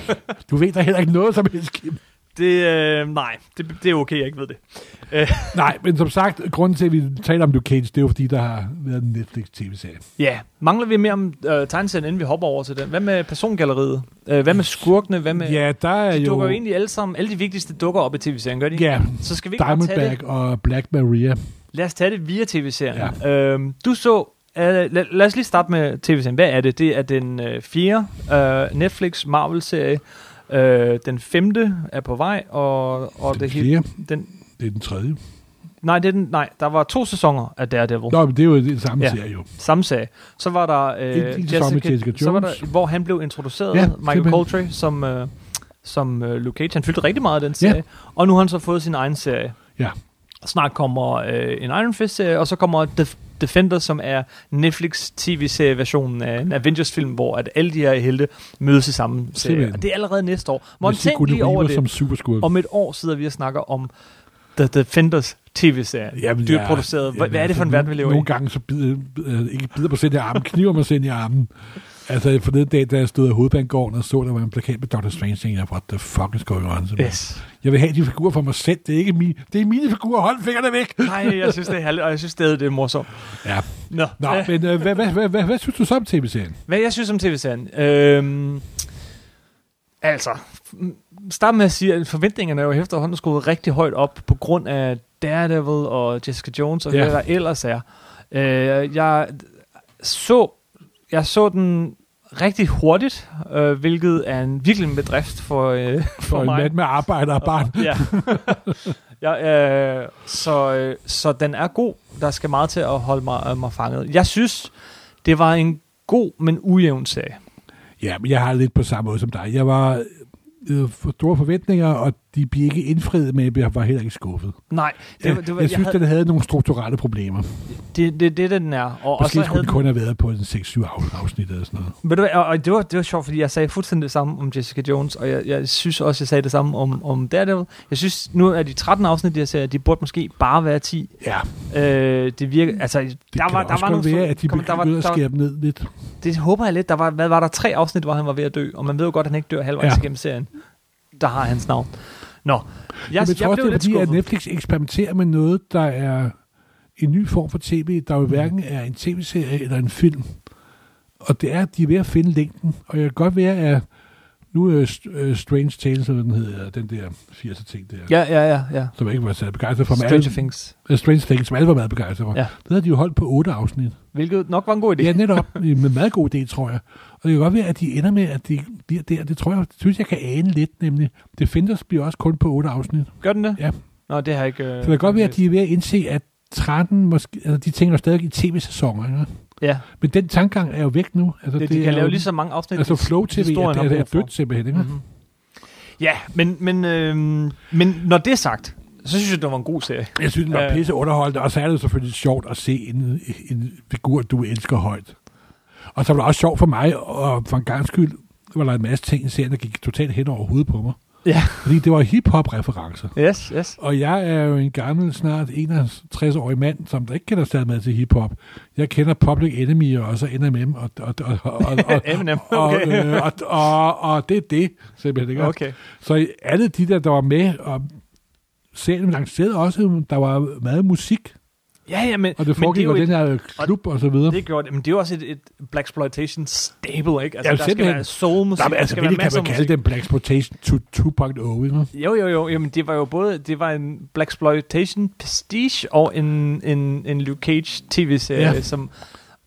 B: du ved da heller ikke noget som helst, Kim.
A: Det, øh, nej, det, det er okay, jeg ikke ved det.
B: Nej, men som sagt, grunden til, at vi taler om Luke Cage, det er jo fordi, der har været en Netflix-tv-serie.
A: Ja, mangler vi mere om øh, tegneserien, inden vi hopper over til den? Hvad med persongalleriet? Øh, hvad med skurkene? Hvad med...
B: Ja, der er
A: de
B: jo...
A: dukker jo egentlig alle sammen. Alle de vigtigste dukker op i tv-serien, gør de? ikke?
B: Ja,
A: Så skal vi ikke bare tage det.
B: Diamondback og Black Maria.
A: Lad os tage det via tv-serien. Ja. Øhm, du så... Øh, lad, lad os lige starte med tv-serien. Hvad er det? Det er den øh, fjerde øh, Netflix Marvel-serie. Øh, den femte er på vej, og, og
B: Den
A: det hele...
B: fjerde,
A: Den,
B: det er den tredje.
A: nej, det er den, nej, der var to sæsoner af Daredevil.
B: Nå, men det er jo den samme
A: Ja.
B: ja. serie jo.
A: Samme sag. Så var der øh,
B: En- en sæson med Jessica
A: så var
B: Jones.
A: der, hvor han blev introduceret,
B: Ja,
A: ja, Michael
B: simpelthen.
A: Coltrane, som, øh, som øh, Luke Cage. Han fyldte rigtig meget af den
B: Ja.
A: serie. Og nu har han så fået sin egen serie.
B: Ja.
A: Snart kommer øh, en Iron Fist-serie, og så kommer Def- Defender, som er Netflix tv-serie-versionen af en Avengers-film, hvor at alle de her helte mødes i samme serie.
B: Simpelthen.
A: Og det er allerede næste år.
B: Med
A: Morten, tænk
B: Sigourney
A: lige over
B: Weaver
A: det.
B: som superskurk.
A: Om et år sidder vi og snakker om The Defenders tv-serie.
B: Jamen, altså,
A: Dyrt produceret. Hvad, hvad er det for en verden, vi lever i?
B: Nogle gange så bider, øh, ikke bider på sind i armen, kniver mig sind i armen. Altså, for den dag, da jeg stod af hovedbanegården og så, der var en plakat med Dr. Strange, tænkte jeg, what the fuck is going on? Yes.
A: Yes.
B: Jeg vil have de figurer for mig selv. Det er ikke mine, det er mine figurer. Hold fingrene væk.
A: Nej, jeg synes, det er herligt, og jeg synes stadig, det er morsomt.
B: Ja.
A: Nå, Nå.
B: Nå, men øh, hvad, hvad, hvad, hvad, hvad, synes du så om tv-serien?
A: Hvad jeg synes om tv-serien? Øhm, altså, m- start med at sige, at forventningerne er jo efterhånden skruet rigtig højt op på grund af Daredevil og Jessica Jones og
B: Ja.
A: ja. hvad der ellers er. Øh, jeg så jeg så den rigtig hurtigt, øh, hvilket er en virkelig en bedrift for, øh, for,
B: For, for en
A: mig.
B: mand med arbejder og barn.
A: Ja. ja øh, så, øh, så den er god. Der skal meget til at holde mig, øh, mig fanget. Jeg synes, det var en god, men ujævn sag.
B: Ja, men jeg har lidt på samme måde som dig. Jeg var øh, for store forventninger, og de blev ikke indfriet, men jeg var heller ikke skuffet.
A: Nej, det, var-
B: Det,
A: det,
B: det
A: var,
B: jeg synes,
A: havde,
B: den havde nogle strukturelle problemer.
A: det, det, det, er det, den er. Og, og så
B: Måske skulle
A: havde
B: den kun have været på en 6-7 af- afsnit eller sådan noget.
A: Ved du hvad, og, og det, var, det var sjovt, fordi jeg sagde fuldstændig det samme om Jessica Jones, og jeg, jeg synes også, jeg sagde det samme om, om Daredevil. Jeg synes, nu er de 13 afsnit, de her serier, de burde måske bare være 10.
B: Ja,
A: Øh, det virker, altså, det
B: det der kan var, der også var godt
A: nogle-
B: være, at de
A: kom- der var-
B: begyndte at
A: der var-
B: skære dem ned lidt.
A: det håber jeg lidt. Der var, hvad var der tre afsnit, hvor han var ved at dø, og man ved jo godt, at han ikke dør halvvejs
B: Ja.
A: ja. igennem serien. Der har hans navn. Nå, jeg,
B: Jeg,
A: jeg,
B: men jeg tror
A: jeg
B: også,
A: blev
B: det er
A: lidt
B: fordi, at
A: skuffet.
B: Netflix eksperimenterer med noget, der er en ny form for tv,
A: Mm.
B: der jo hverken er en tv-serie eller en film. Og det er, at de er ved at finde længden. Og jeg kan godt være, at nu er St- øh, Strange Tales, eller hvad den hedder, den der 80'er ting der,
A: Ja, ja, ja. ja.
B: som jeg ikke var særlig begejstret for. men alle-
A: Stranger Things.
B: Øh, Strange Things, som alle var meget begejstret for.
A: Ja.
B: Ja. Det havde de jo holdt på otte afsnit.
A: Hvilket nok var en god idé.
B: Ja, netop. med meget god idé, tror jeg. Og det kan godt være, at de ender med, at de bliver der. Det tror jeg, det synes jeg kan ane lidt, nemlig. Defenders bliver også kun på otte afsnit.
A: Gør den det?
B: Ja.
A: Nå, det har jeg ikke... Øh,
B: Så det kan godt være, at de er ved at indse, at 13 måske, altså de tænker jo stadig i tv-sæsoner. Ikke?
A: Ja,
B: Men den tankegang er jo væk nu. Altså,
A: det, de
B: er
A: kan lave
B: jo,
A: lige så mange afsnit.
B: Altså
A: de-
B: Flow TV
A: historien
B: er,
A: har
B: er, er
A: brug for.
B: dødt simpelthen. Ikke?
A: Mhm. Ja, men, men, øh, men når det er sagt, så synes jeg, det var en god serie.
B: Jeg synes, den var
A: Øh.
B: pisse underholdende, og så er det jo selvfølgelig sjovt at se en, en figur, du elsker højt. Og så var det også sjovt for mig, og for en gang skyld, var der en masse ting i serien, der gik totalt hen over hovedet på mig.
A: Ja.
B: Fordi det var hip-hop-referencer.
A: Yes, yes.
B: Og jeg er jo en gammel, snart 61-årig mand, som der ikke kender særlig meget til hiphop. Jeg kender Public Enemy og så NMM, og, og, og, og, og, og,
A: Eminem,
B: og,
A: okay.
B: øh, og, og, og det er det, simpelthen. Ikke?
A: Okay.
B: Så i alle de der, der var med, og serien lancerede også, der var meget musik,
A: Ja, ja, men,
B: og det
A: men det er
B: foregik
A: jo
B: jo
A: et
B: den her klub og så videre.
A: Det gjorde det, men det er jo også et, et Black Exploitation stable, ikke? Altså,
B: Ja,
A: ja, der skal
B: simpelthen.
A: være soul musik,
B: Nej, men
A: der
B: altså,
A: skal være
B: hvilket kan
A: masser
B: man
A: af
B: kalde
A: musik.
B: den Black Exploitation 2.0, ikke?
A: Jo, jo, jo. Jamen, det var jo både det var en Black Exploitation pastiche og en, en, en Luke Cage tv-serie,
B: Ja.
A: ja. som...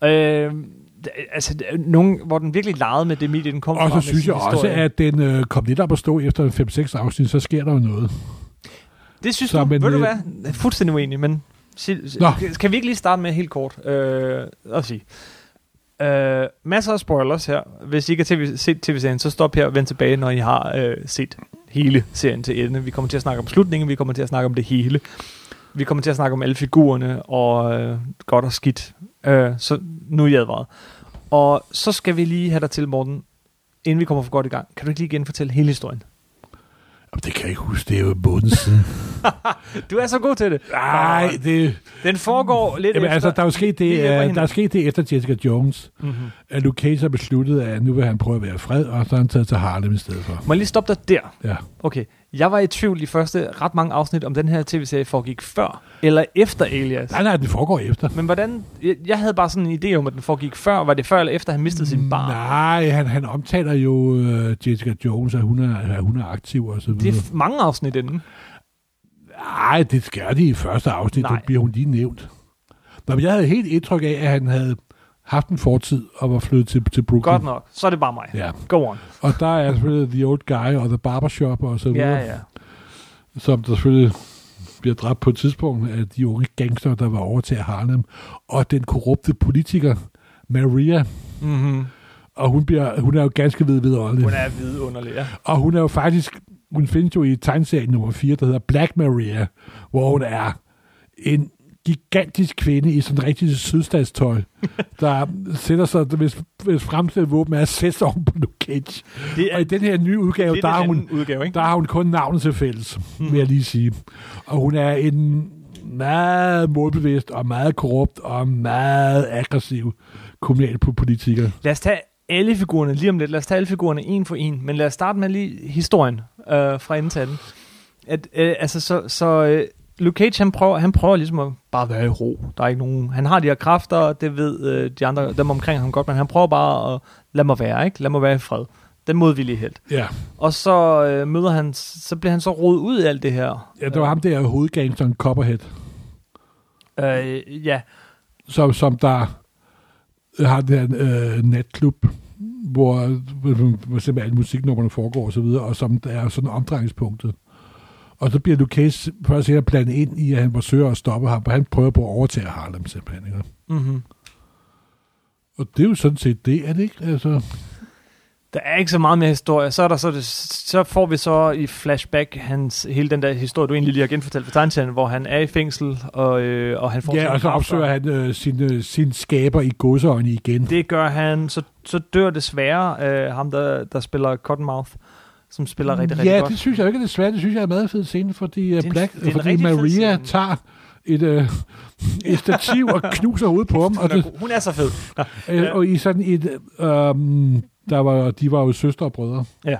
A: Øh, altså, nogen, hvor den virkelig legede med det medie, den kom
B: Og
A: fra.
B: så
A: med
B: synes
A: sin
B: jeg også,
A: historie.
B: at den øh, kom lidt op at stå efter 5-6 afsnit, så sker der jo noget.
A: Det synes
B: så,
A: du,
B: men,
A: ved du
B: øh,
A: hvad? Jeg er Fuldstændig uenig, men... sig- sig-
B: Nå.
A: Kan vi ikke lige starte med helt kort øh, at sige... Øh, masser af spoilers her. Hvis I ikke har TV, set tv-serien, så stop her og vend tilbage, når I har øh, set hele serien til ende. Vi kommer til at snakke om slutningen, vi kommer til at snakke om det hele. Vi kommer til at snakke om alle figurerne, og øh, godt og skidt. Øh, så nu er I advaret. Og så skal vi lige have dig til, Morten, inden vi kommer for godt i gang. Kan du ikke lige genfortælle hele historien?
B: Jamen, det kan jeg ikke huske, det er jo en måned siden.
A: Du er så god til det.
B: Nej, det...
A: Den foregår lidt
B: Jamen,
A: efter.
B: altså, der er jo sket det,
A: lige efter
B: uh, der er
A: hinanden.
B: sket det efter Jessica Jones, mm-hmm. at Luke Cage har besluttet, at nu vil han prøve at være fred, og så har han taget til Harlem i stedet for.
A: Må jeg lige stoppe dig der?
B: Ja.
A: Okay, jeg var i tvivl i første ret mange afsnit, om den her tv-serie foregik før eller efter Alias.
B: Nej, nej, den foregår efter.
A: Men hvordan... Jeg, jeg havde bare sådan en idé om, at den foregik før. Var det før eller efter, han mistede sin barn?
B: Nej, han, han omtaler jo uh, Jessica Jones, at hun er, at hun er aktiv og så
A: Det
B: videre.
A: er f- mange afsnit inden.
B: Nej, det skal de i første afsnit,
A: Nej.
B: der bliver hun lige nævnt. Nå, men jeg havde helt indtryk af, at han havde haft en fortid og var flyttet til, til Brooklyn.
A: Godt nok. Så er det bare mig.
B: Ja,
A: Go on.
B: og der er selvfølgelig The Old Guy og The Barbershop og så videre,
A: Ja, ja.
B: som der selvfølgelig bliver dræbt på et tidspunkt af de unge gangster, der var over til Harlem, og den korrupte politiker, Maria,
A: Mm-hmm.
B: og hun, bliver, hun er jo ganske ved vidunderlig.
A: Hun er vidunderlig, ja.
B: Og hun er jo faktisk, hun findes jo i tegneserien nummer 4, der hedder Black Maria, hvor hun er en gigantisk kvinde i sådan rigtig sydstatstøj, der sætter sig, hvis, hvis fremstillet våben er at sætte sig oven på Luke Cage.
A: Det
B: Og i den her nye udgave,
A: lidt
B: der har
A: en
B: hun,
A: anden udgave, ikke?
B: der har hun kun navnet til fælles, vil jeg lige sige. Og hun er en meget målbevidst og meget korrupt og meget aggressiv kommunalpolitiker.
A: Lad os tage alle figurerne lige om lidt. Lad os tage alle figurerne en for en. Men lad os starte med lige historien øh, fra enden til anden. At, øh, altså, så, så øh, Luke Cage, han prøver, han prøver ligesom at bare være i ro. Der er ikke nogen... Han har de her kræfter, og det ved øh, de andre, dem omkring ham godt, men han prøver bare at lade mig være, ikke? Lad mig være i fred. Den modvillige helt.
B: Ja,
A: Og så øh, møder han, så bliver han så rodet ud i alt det her.
B: ja det var ham der hovedgangsteren Copperhead.
A: Øh, ja,
B: som, som der har den her øh, natklub, hvor, hvor simpelthen alle musiknummerne foregår og så videre, og som der er sådan omdrejningspunktet. Og så bliver Lucas før og senere blandet ind i, at han forsøger at stoppe ham, og han prøver på at overtage Harlem simpelthen. Ikke?
A: mm-hmm.
B: Og det er jo sådan set det, er det ikke? Altså,
A: Der er ikke så meget mere historie. Så, er der så, det, så får vi så i flashback hans, hele den der historie, du egentlig lige har genfortalt fra tegneserien, hvor han er i fængsel, og, øh, og han får...
B: ja,
A: sine
B: og så
A: kræfter.
B: opsøger han øh, sin, øh, sin skaber i godseøjne igen.
A: Det gør han. Så, så dør desværre øh, ham, der, der spiller Cottonmouth, som spiller rigtig, rigtig
B: ja,
A: godt.
B: det synes jeg jo ikke er det svært. Det synes jeg er en meget fed scene, fordi,
A: en-
B: uh, Black,
A: det er en
B: fordi
A: rigtig fed
B: Maria
A: scene.
B: tager et, øh, et stativ og knuser hovedet på ham. Og,
A: Hun er,
B: det,
A: god. hun er så fed.
B: øh, og i sådan et... Øh, der var, de var jo søstre og brødre.
A: Ja.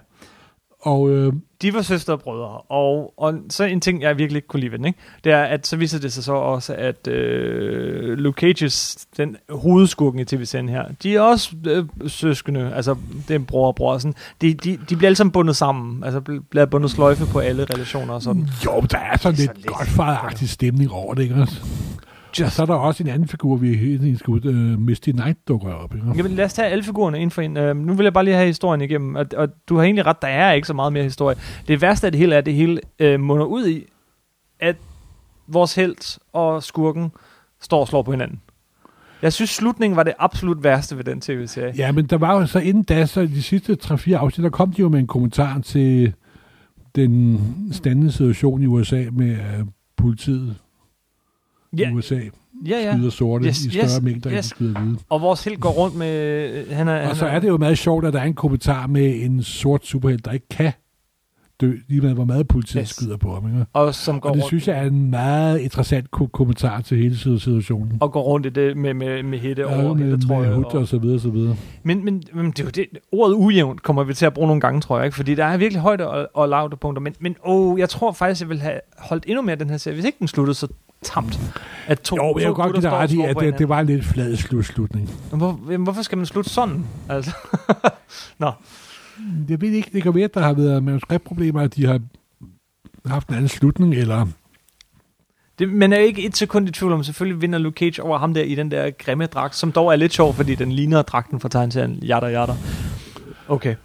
B: Og øh,
A: de var søstre og brødre, og, og så en ting, jeg virkelig ikke kunne lide ved den, ikke? det er, at så viser det sig så også, at øh, Luke Cage's, den hovedskurken i tv-serien her, de er også øh, søskende, altså det er en bror og bror, og sådan. De, de, de bliver alle sammen bundet sammen, altså bl- bliver bundet sløjfe på alle relationer og sådan.
B: jo, der er sådan
A: Det er
B: lidt,
A: så
B: lidt
A: lidt.
B: godfaderagtig stemning over det, ikke? også? Og så er der også en anden figur, vi hele tiden skal ud. Øh, Misty Knight dukker op, ikke?
A: Jamen lad os tage alle figurerne ind for en. Øh, nu vil jeg bare lige have historien igennem, og, og du har egentlig ret, der er ikke så meget mere historie. Det værste af det hele er, at det hele øh, munder ud i, at vores held og skurken står og slår på hinanden. Jeg synes, slutningen var det absolut værste ved den tv-serie.
B: Ja, men der var jo så inden da, så de sidste 3-4 afsnit, der kom de jo med en kommentar til den standende situation i USA med øh, politiet
A: Ja,
B: i USA
A: ja, ja.
B: skyder sorte
A: Yes,
B: yes, i større
A: yes,
B: yes, mængder, yes. end de
A: yes.
B: skyder hvide.
A: Og vores held går rundt med... øh, Han er,
B: Og så
A: han
B: er det jo meget sjovt, at der er en kommentar med en sort superhelt, der ikke kan dø, lige med hvor meget politiet
A: Yes.
B: yes. skyder på ham. Ikke?
A: Og som går
B: Og det
A: rundt,
B: synes jeg er en meget interessant ko- kommentar til hele situationen.
A: og går rundt i det med, med, med hætte
B: Ja,
A: over
B: med,
A: hættetrøje
B: med
A: og-
B: hud og så videre, så videre.
A: Men, men, men det er jo det, ordet ujævnt kommer vi til at bruge nogle gange, tror jeg. Ikke? Fordi der er virkelig højde og, og lavde punkter. Men, men åh, jeg tror faktisk, jeg ville have holdt endnu mere den her serie, hvis ikke den sluttede så tamt. At to,
B: Jo, men jeg
A: to
B: kan godt give
A: gutter
B: dig
A: står og
B: ret i,
A: slår
B: at
A: på
B: det, det
A: hinanden.
B: var en lidt flad slutslutning.
A: Men Hvor, jamen, hvorfor skal man slutte sådan? Altså,
B: Mm, Jeg ved ikke, det kan være, at der har været manuskriptproblemer, at de har haft en anden slutning, eller...
A: det, man er jo ikke et sekund i tvivl om, selvfølgelig vinder Luke Cage over ham der i den der grimme dragt, som dog er lidt sjov, fordi den ligner dragten fra tegneserien Jatter Jatter. Okay.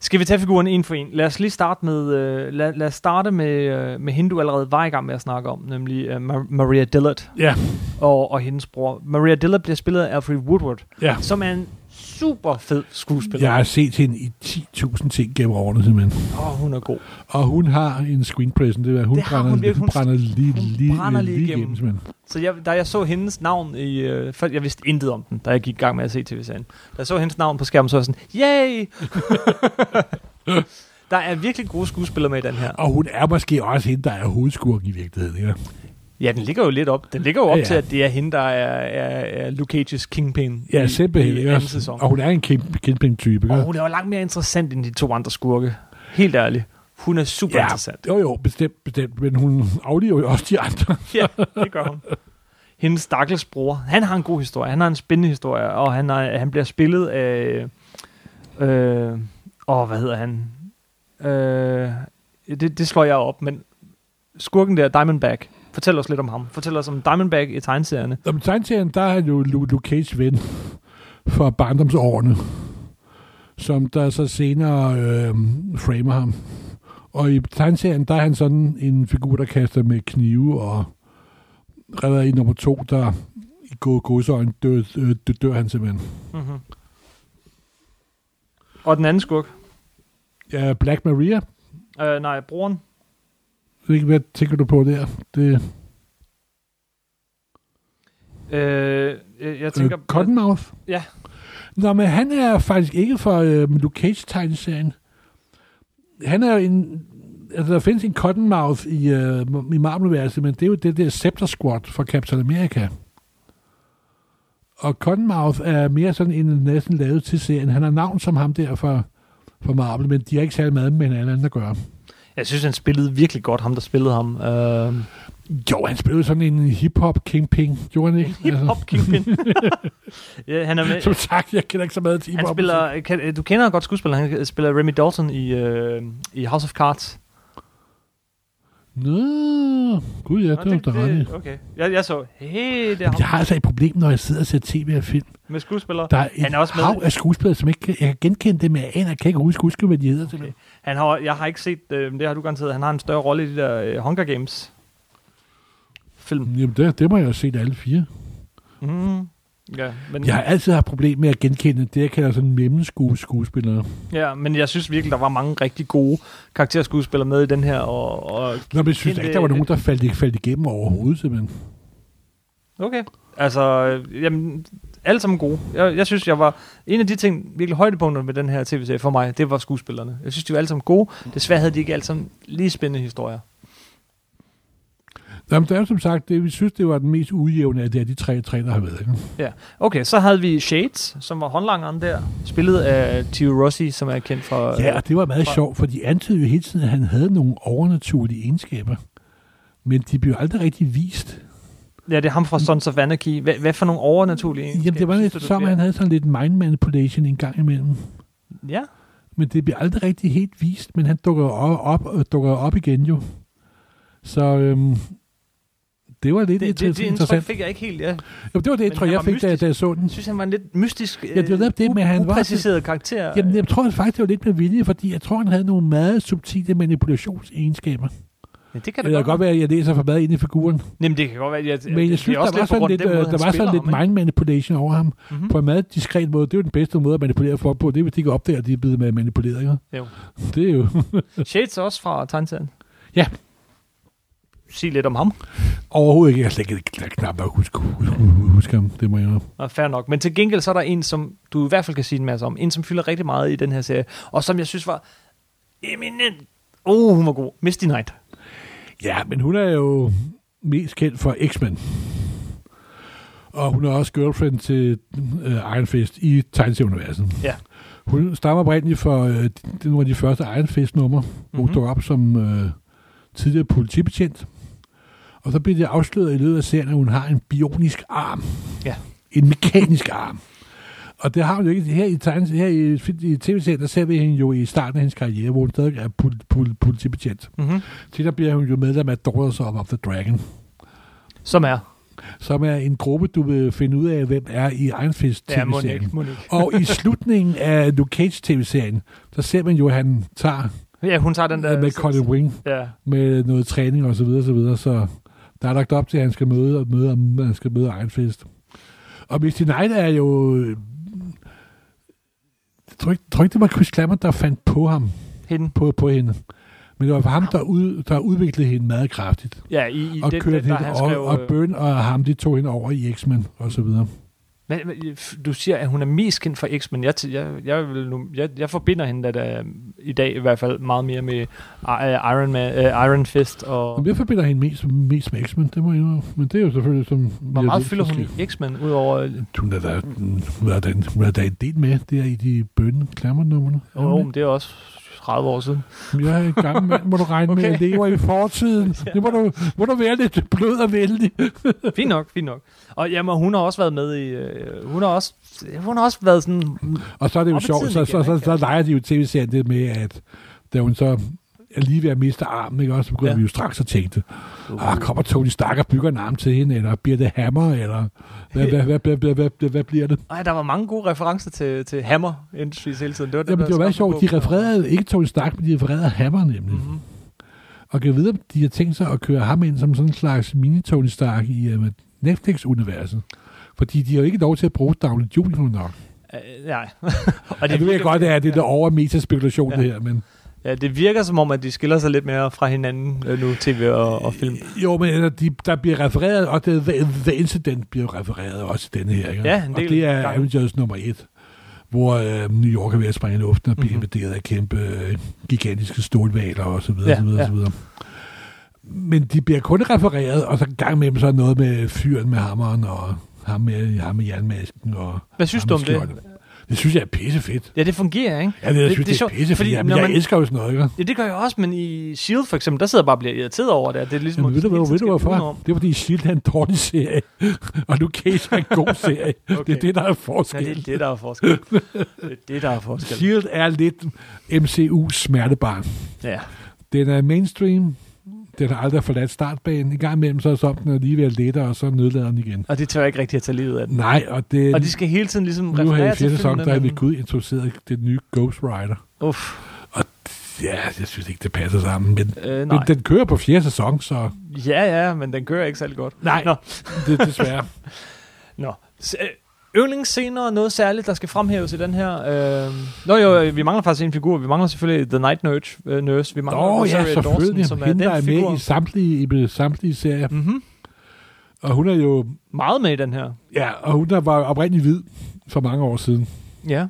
A: Skal vi tage figuren en for en? Lad os lige starte med, øh, lad, lad os starte med, øh, med hende, du allerede var i gang med at snakke om, nemlig øh, Mar- Maria Dillard.
B: Ja,
A: og, og hendes bror. Maria Dillard bliver spillet af Alfred Woodward,
B: ja.
A: som er en super fed skuespiller.
B: Jeg har set hende i 10.000 ting gennem årene, simpelthen.
A: Åh, oh, hun er god.
B: Og hun har en screen presence, det vil sige, hun,
A: Det har hun
B: brænder, hun,
A: virkelig.
B: hun
A: Hun-
B: brænder lige,
A: hun
B: lige,
A: brænder lige
B: lige, lige
A: igennem.
B: igennem, simpelthen.
A: Så jeg, da jeg så hendes navn i... Øh, før, jeg vidste intet om den, da jeg gik i gang med at se tv-serien. Da jeg så hendes navn på skærmen, så var jeg sådan, yay! Der er virkelig gode skuespillere med i den her.
B: Og hun er måske også hende, der er hovedskurken i virkeligheden. Ikke?
A: Ja, den ligger jo lidt op. Den ligger jo op
B: Ja,
A: ja,
B: ja.
A: ja. til, at det er hende, der er, er, er Luke Cage's kingpin
B: Ja,
A: i,
B: simpelthen.
A: i
B: ikke
A: anden
B: også?
A: sæson.
B: Og hun er en kin- kinpin-type.
A: Og
B: ikke?
A: hun er jo langt mere interessant end de to andre skurke. Helt ærligt. Hun er super ja. interessant.
B: jo jo, bestemt, bestemt. Men hun afliver jo også de andre.
A: Ja, det gør hun. Hendes stakkels bror, han har en god historie. Han har en spændende historie, og han, er, han bliver spillet af... Øh, åh, hvad hedder han? Øh, det, det slår jeg op, men skurken der, Diamondback, fortæl os lidt om ham. Fortæl os om Diamondback i tegneserierne.
B: Om tegneserien, der er han jo Lu- Luke Cage ven fra barndomsårene, som der så senere øh, framer ham. Og i tegneserien, der er han sådan en figur, der kaster med knive, og allerede i nummer to, der i gode godsøjne dør, øh, dør, dør han simpelthen.
A: Mm-hmm. Og den anden skurk?
B: Ja, Black Maria,
A: Øh, nej, broren.
B: Jeg ved ikke, hvad tænker du på der? Det,
A: Øh, jeg, jeg
B: øh,
A: tænker...
B: Cottonmouth?
A: Ja.
B: Nå, men han er faktisk ikke fra øh, Luke Cage-tegneserien. Han er jo en... Altså, der findes en Cottonmouth i, øh, i Marvel-universet, men det er jo det der Scepter Squad fra Captain America. Og Cottonmouth er mere sådan en næsten lavet til serien. Han har navn som ham der fra, fra Marvel, men de har ikke særlig meget med hinanden at gøre.
A: Jeg synes, han spillede virkelig godt, ham der spillede ham. Øh,
B: Jo, han spillede sådan en hip-hop kingpin, gjorde han ikke? Altså,
A: Hip-hop kingpin. ja, han er med.
B: som sagt, jeg kender ikke så meget til
A: Han
B: hip-hop.
A: spiller, kan, øh, du kender godt skuespiller, han øh, spiller Remy Dalton i, øh, i House of Cards.
B: Nå, gud ja, det var da ret. i.
A: Okay, jeg, jeg så, hey, det er
B: Jamen,
A: ham
B: Jeg har altså et problem, når jeg sidder og ser tv og film.
A: med skuespillere.
B: Der er et
A: Han er også med.
B: hav af skuespillere, som ikke, kan- jeg kan genkende dem, men jeg aner, jeg kan ikke huske, huske hvad de hedder.
A: Okay.
B: Okay.
A: Han har, jeg har ikke set, øh, det har du garanteret, han har en større rolle i de der øh, Hunger Games film.
B: Jamen, det, det må jeg jo se alle fire.
A: Mm. Ja, men,
B: Jeg har altid haft problem med at genkende det, jeg kalder sådan mellem skuespillere.
A: ja, men jeg synes virkelig, der var mange rigtig gode karakterskuespillere med i den her. Og, og
B: Nå, men jeg synes
A: Jamen,
B: ikke, der var
A: det-
B: nogen, der faldt, ikke faldt igennem overhovedet, simpelthen.
A: Okay. Altså, øh, jamen, alle sammen gode. Jeg, jeg synes, jeg var... En af de ting, virkelig højdepunkterne ved den her tv-serie for mig, det var skuespillerne. Jeg synes, de var alle sammen gode. Desværre havde de ikke alle sammen lige spændende historier.
B: Nå, men det er jo som sagt, det, vi synes, det var den mest ujævne af det, af de tre, tre der har været. Ikke?
A: Ja. Okay, så havde vi Shades, som var håndlangeren der, spillet af Tio Rossi, som er kendt fra... øh,
B: Ja, og det var meget
A: fra-
B: sjovt, for de antydede jo hele tiden, at han havde nogle overnaturlige egenskaber. Men de blev aldrig rigtig vist.
A: ja, det er ham fra Sons of Anarchy. Hvad, hvad for nogle overnaturlige
B: Jamen, det var lidt som, at han havde sådan lidt mind manipulation en gang imellem.
A: Ja,
B: Men det bliver aldrig rigtig helt vist, men han dukker jo op, op, og dukker op igen jo. Så øhm, det var lidt
A: det, det, det, det indtryk
B: interessant.
A: fik jeg ikke helt, ja.
B: Jamen, det var det
A: Men
B: indtryk,
A: han
B: jeg
A: var
B: fik, da,
A: mystisk.
B: da jeg så den.
A: Jeg synes, han var en lidt mystisk, ja,
B: det var netop det, men han var-
A: upræciseret karakter.
B: Jamen, jeg tror faktisk, det var lidt med vilje, fordi jeg tror, han havde nogle meget subtile manipulationsegenskaber.
A: ja, det kan
B: Det kan godt være, at jeg læser for meget ind i figuren.
A: Jamen, det kan godt være. Jeg,
B: Men jeg synes, der var sådan lidt, øh, der var sådan lidt mind manipulation over ham.
A: Mm-hmm.
B: På en meget diskret måde. Det er jo den bedste måde at manipulere folk på. Det er, hvis de ikke opdager, at de er blevet manipuleret. ikke?
A: Jo.
B: Det er jo...
A: Shades er også fra Tantan.
B: Ja.
A: Sig lidt om ham.
B: Overhovedet ikke. Jeg kan slet ikke knap nok huske, huske, huske ham. Det må jeg indrømme.
A: Nå, fair nok. Men til gengæld så er der en, som du i hvert fald kan sige en masse om. En, som fylder rigtig meget i den her serie. Og som jeg synes var eminent. Oh, hun var god. Misty Knight.
B: Ja, men hun er jo mest kendt for X-Men. Og hun er også girlfriend til øh, Iron Fist i tegneserieuniverset.
A: Ja.
B: Hun stammer oprindeligt for øh, det er nogle af de første Iron Fist-numre, hvor hun
A: Mhm.
B: dukker op som øh, tidligere politibetjent. Og så bliver det afsløret i løbet af serien, at hun har en bionisk arm.
A: Ja.
B: En mekanisk arm. Og det har hun jo ikke her i, tegnes, her i, i tv-serien, der ser vi hende jo i starten af hendes karriere, hvor hun stadig er pol, pol, politibetjent.
A: Mm-hmm.
B: Til der bliver hun jo medlem af Daughters of the Dragon,
A: Som er.
B: som er en gruppe, du vil finde ud af, hvem er i Iron Fist
A: Ja, Monique.
B: tv-serien.
A: Monique.
B: og i slutningen af Luke Cage tv-serien, der ser man jo, at han tager
A: Ja, hun tager den der...
B: med Colin Wing
A: Ja.
B: med noget træning og så videre, så videre. Så der er lagt op til, at han skal møde, og møde, og han skal møde Iron Fist. Og Misty Knight er jo... Jeg tror ikke, tror ikke det var Chris Klammer, der fandt på ham,
A: Hende.
B: på, på hende. Men det var ham, der, ud, der udviklede hende meget kraftigt
A: Ja, i, i
B: og
A: den,
B: kørte
A: der,
B: hende
A: han
B: over,
A: skrev...
B: og
A: øh,
B: Bøn og ham, de tog hende over i X-Men og så videre.
A: Men, men f- du siger, at hun er mest kendt for X, men jeg, t- jeg, jeg, vil nu, jeg, jeg forbinder hende da, da, i dag i hvert fald meget mere med I- Iron, Man, uh, Iron Fist. Og
B: Jamen, jeg forbinder hende mest, mest med X-Men, det må jeg indrømme. Men det er jo selvfølgelig som...
A: hvor meget
B: ja,
A: fylder hun i X-Men, udover... Øh,
B: Hun er der, hun er der, en- hun er der en del med, der i de bønne klammernummerne.
A: oh, men det er også 30 år siden.
B: Jeg er en gammel mand, må du regne okay. med,
A: Okay.
B: jeg lever i fortiden. Det må du, må du være lidt blød og vældig.
A: Fint nok, fint nok. Og jamen, hun har også været med i... Øh, hun, har også, hun har også været sådan...
B: Og så er det jo
A: Op i
B: sjovt,
A: tiden
B: så,
A: igen,
B: så, så,
A: ikke?
B: så leger de jo tv-serien det med, at da hun så er lige ved at miste armen, ikke? også, så begynder ja.
A: Ja. Uh.
B: vi jo straks at tænke det. Ah, kommer Tony Stark og bygger en arm til hende, eller bliver det hammer, eller hvad, hvad, hvad, hvad, hvad, hvad, hvad, hvad bliver det?
A: Ej, der var mange gode referencer til, til Hammer Industries hele tiden. Det var det,
B: Jamen, det var meget sjovt. De refererede ikke Tony Stark, men de refererede hammer nemlig. Mm-hmm.
A: Mm-hmm.
B: Og kan vide, om de har tænkt sig at køre ham ind som sådan en slags mini-Tony Stark i øh, Netflix-universet. Fordi de har jo ikke lov til at bruge Downey Jr. nok.
A: Øh, nej.
B: Og
A: Og
B: det, ja, det ved jeg godt, det er det der over metaspekulation, ja. det her, men...
A: Ja, det virker som om, at de skiller sig lidt mere fra hinanden øh, nu, tv og, og film.
B: Jo, men altså, de, der bliver refereret, og det, the, the Incident bliver refereret også i denne her, ikke?
A: Ja, en
B: og
A: del
B: det er
A: gange.
B: Avengers nummer et, hvor øh, New York er ved at springe i luften og bliver
A: Mhm.
B: invaderet af kæmpe øh, gigantiske stålvaler og så videre,
A: Ja,
B: så videre,
A: ja.
B: så videre. Men de bliver kun refereret, og så en gang med dem så er noget med fyren med hammeren og ham med, ham med jernmasken og
A: Hvad synes
B: ham
A: du
B: med
A: om det?
B: skjoldet. Det synes jeg er pissefedt.
A: Ja, det fungerer, ikke?
B: Ja, det, jeg
A: Det- det er
B: synes, det, det er,
A: sjovt,
B: pissefedt.
A: fordi
B: Fordi,
A: når
B: Jamen, jeg
A: man-
B: elsker jo sådan noget, ikke?
A: Ja, det gør jeg også, men i S.H.I.E.L.D. for eksempel, der sidder jeg bare og bliver irriteret over det. at Det er ligesom,
B: Jamen, ved du,
A: hele
B: hvad,
A: tiden
B: ved du
A: skal
B: hvorfor?
A: udenom.
B: Det er, fordi S.H.I.E.L.D. er en dårlig serie, og nu Cage er en god serie. okay. Det er det, der er
A: Ja,
B: forskel.
A: det er det, der er forskel. Det er det, der er forskel.
B: S.H.I.E.L.D. er lidt MCU's smertebarn.
A: Ja.
B: Den er mainstream, den har aldrig forladt startbanen. I gang imellem så er sådan, den er lige ved at lette, og så nødlader den igen.
A: Og det tør jeg ikke rigtig at tage livet af den.
B: Nej, og det...
A: Og de skal hele tiden ligesom
B: nu har
A: referere
B: jeg
A: til
B: fjerde sæson,
A: filmene.
B: der er ved
A: men-
B: Gud introduceret det nye Ghost Rider.
A: Uff,
B: Ja, jeg synes ikke, det passer sammen, men,
A: øh, nej.
B: men den kører på fjerde sæson, så
A: Ja, ja, men den kører ikke særlig godt.
B: Nej.
A: Nå,
B: det er desværre.
A: Nå. S- øh, Yndlingsscener og noget særligt, der skal fremhæves i den her. Øh... Nå jo, øh, vi mangler faktisk en figur. Vi mangler selvfølgelig The Night Nurse. Øh, nurse. Vi mangler
B: Nå ja,
A: Rosario
B: selvfølgelig.
A: Dawson, som er
B: Hende, der
A: den
B: er
A: figur.
B: med i samtlige, i samtlige serier.
A: Mm-hmm.
B: Og hun er jo
A: Meget med i den her.
B: Ja, og hun der var oprindeligt hvid for mange år siden.
A: Ja.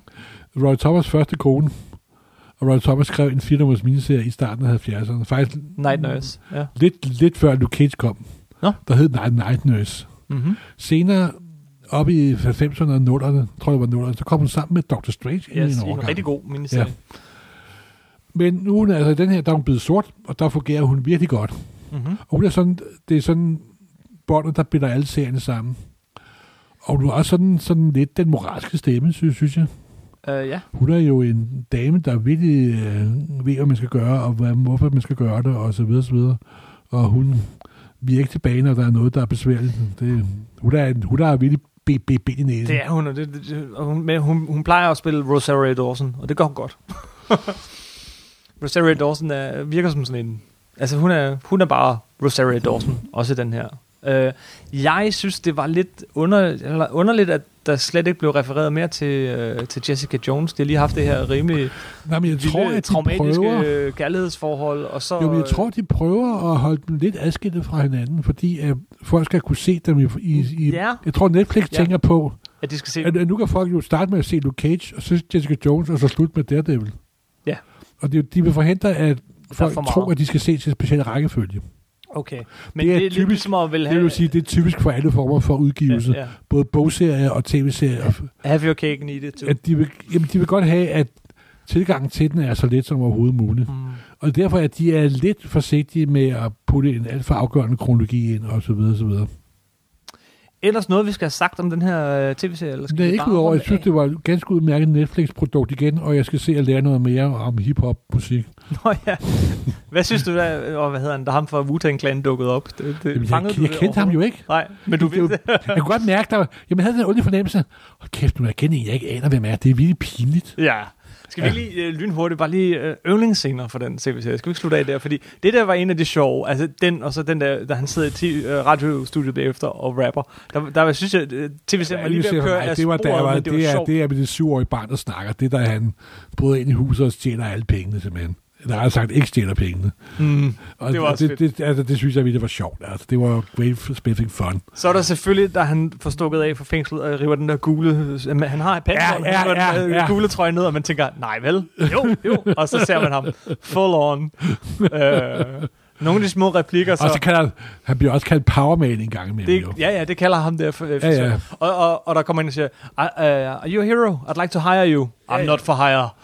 B: Roy Thomas' første kone. Og Roy Thomas skrev en 4 miniserie i starten af 70'erne. Faktisk
A: Night Nurse. Ja.
B: lidt, lidt før Luke Cage kom.
A: Nå.
B: Der hed Night, Night Nurse.
A: Mm-hmm.
B: Senere, op i 90'erne og 0'erne, tror jeg det var 0'erne, så kom hun sammen med Dr. Strange ind
A: Yes,
B: i
A: en,
B: en
A: en
B: årgang.
A: rigtig god miniserie.
B: Men nu er hun altså i den her, der er hun blevet sort, og der fungerer hun virkelig godt.
A: Ja. Mm-hmm.
B: Og hun er sådan, det er sådan båndet, der binder alle serierne sammen. Og hun er også sådan, sådan lidt den moralske stemme, synes, synes jeg.
A: Uh, ja.
B: Hun er jo en dame, der virkelig øh, ved, hvad man skal gøre, og hvad, hvorfor man skal gøre det, og så videre, så videre. Og hun vi er ikke tilbage, når der er noget, der er besværligt. Det, hun, er, en- hun er virkelig be, be, be i næsen.
A: Det er hun, og, det, det, det, og hun, men hun, hun plejer at spille Rosario Dawson, og det gør hun godt. Rosario Dawson er, virker som sådan en... Altså, hun er, hun er bare Rosario Dawson, også i den her. Øh, jeg synes, det var lidt under, eller underligt, at der slet ikke blev refereret mere til, øh, til Jessica Jones. De har lige haft det her rimelig
B: Nej, men jeg tror,
A: vilde,
B: at de
A: traumatiske
B: prøver,
A: øh, kærlighedsforhold, og så...
B: jo, men jeg tror, de prøver at holde dem lidt adskilte fra hinanden, fordi at folk skal kunne se dem i... i, i
A: Ja,
B: Jeg tror, Netflix
A: Ja.
B: tænker på,
A: at de skal se...
B: at, at nu kan folk jo starte med at se Luke Cage, og så Jessica Jones, og så slut med Daredevil.
A: Ja.
B: Og det, er jo- de vil forhindre, at folk
A: for meget.
B: tror, at de skal se til specielle rækkefølge.
A: Okay. Men
B: det
A: det
B: er
A: er, det er
B: typisk-
A: typisk, ligesom at vil
B: Det
A: have...
B: vil sige, det er typisk for alle former for udgivelse, ja,
A: ja, ja.
B: ja. både bogserier og tv-serier.
A: Have your cake and eat it too.
B: At de, vil, jamen, de vil godt have, at tilgangen til den er så let som overhovedet muligt.
A: Mm.
B: Og derfor er de er lidt forsigtige med at putte en alt for afgørende kronologi ind, og så videre, så videre.
A: Ellers noget, vi skal have sagt om den her øh, tv-serie? Eller skal
B: Det er
A: vi
B: ikke
A: bare
B: udover, jeg
A: runde
B: synes,
A: af?
B: det var et ganske udmærket Netflix-produkt igen, og jeg skal se at lære noget mere om hiphop-musik.
A: Nå ja. Hvad synes du, der, og hvad hedder han, der ham fra Wu-Tang Clan dukkede op? Det, det,
B: Jamen,
A: Øh, fangede
B: jeg,
A: du
B: jeg
A: det
B: kendte ham jo ikke.
A: overhovedet? Nej, men du
B: Det er jo-
A: ved det.
B: Jeg kunne godt mærke, der var, jamen, jeg havde den her onde fornemmelse. Hold kæft, nu er jeg kendt en, jeg ikke aner, hvem er. Det er virkelig pinligt.
A: Ja. Skal vi
B: Ja.
A: ikke lige øh, lynhurtigt, bare lige øh, yndlingsscener for den tv-serie? Skal vi ikke slutte af der? Fordi det der var en af de sjove, altså den, og så den der, da han sidder i ti, øh, radiostudiet bagefter og rapper. Der, der synes jeg, øh, tv-serien var lige ved at køre
B: Nej,
A: af
B: det var, da
A: sporet,
B: jeg var,
A: men
B: det, er,
A: sjovt.
B: det er med det syvårige barn, der snakker. Det er, da han bryder ind i huset og stjæler alle pengene, simpelthen. der har sagt, ikke stjæler pengene.
A: Mm.
B: Og
A: Det var også
B: det, det, altså, det synes jeg virkelig var sjovt. Altså, det var jo great speffing fun.
A: Så er der selvfølgelig, da han får stukket af fra fængslet og river den der gule... øh, Han har et panser,
B: Ja, ja,
A: og river den
B: ja,
A: der øh,
B: ja.
A: gule trøje ned, og man tænker, nej vel, jo, jo. Og så ser man ham full on. Øh, nogle af de små replikker,
B: Og så
A: så...
B: kalder han, han bliver også kaldt Powerman en gang imellem.
A: Det,
B: jo.
A: ja, ja, det kalder ham der. For,
B: Ja, ja.
A: Og, og, og der kommer en og siger, "I- uh, are you a hero? I'd like to hire you. I'm
B: ja.
A: not for hire.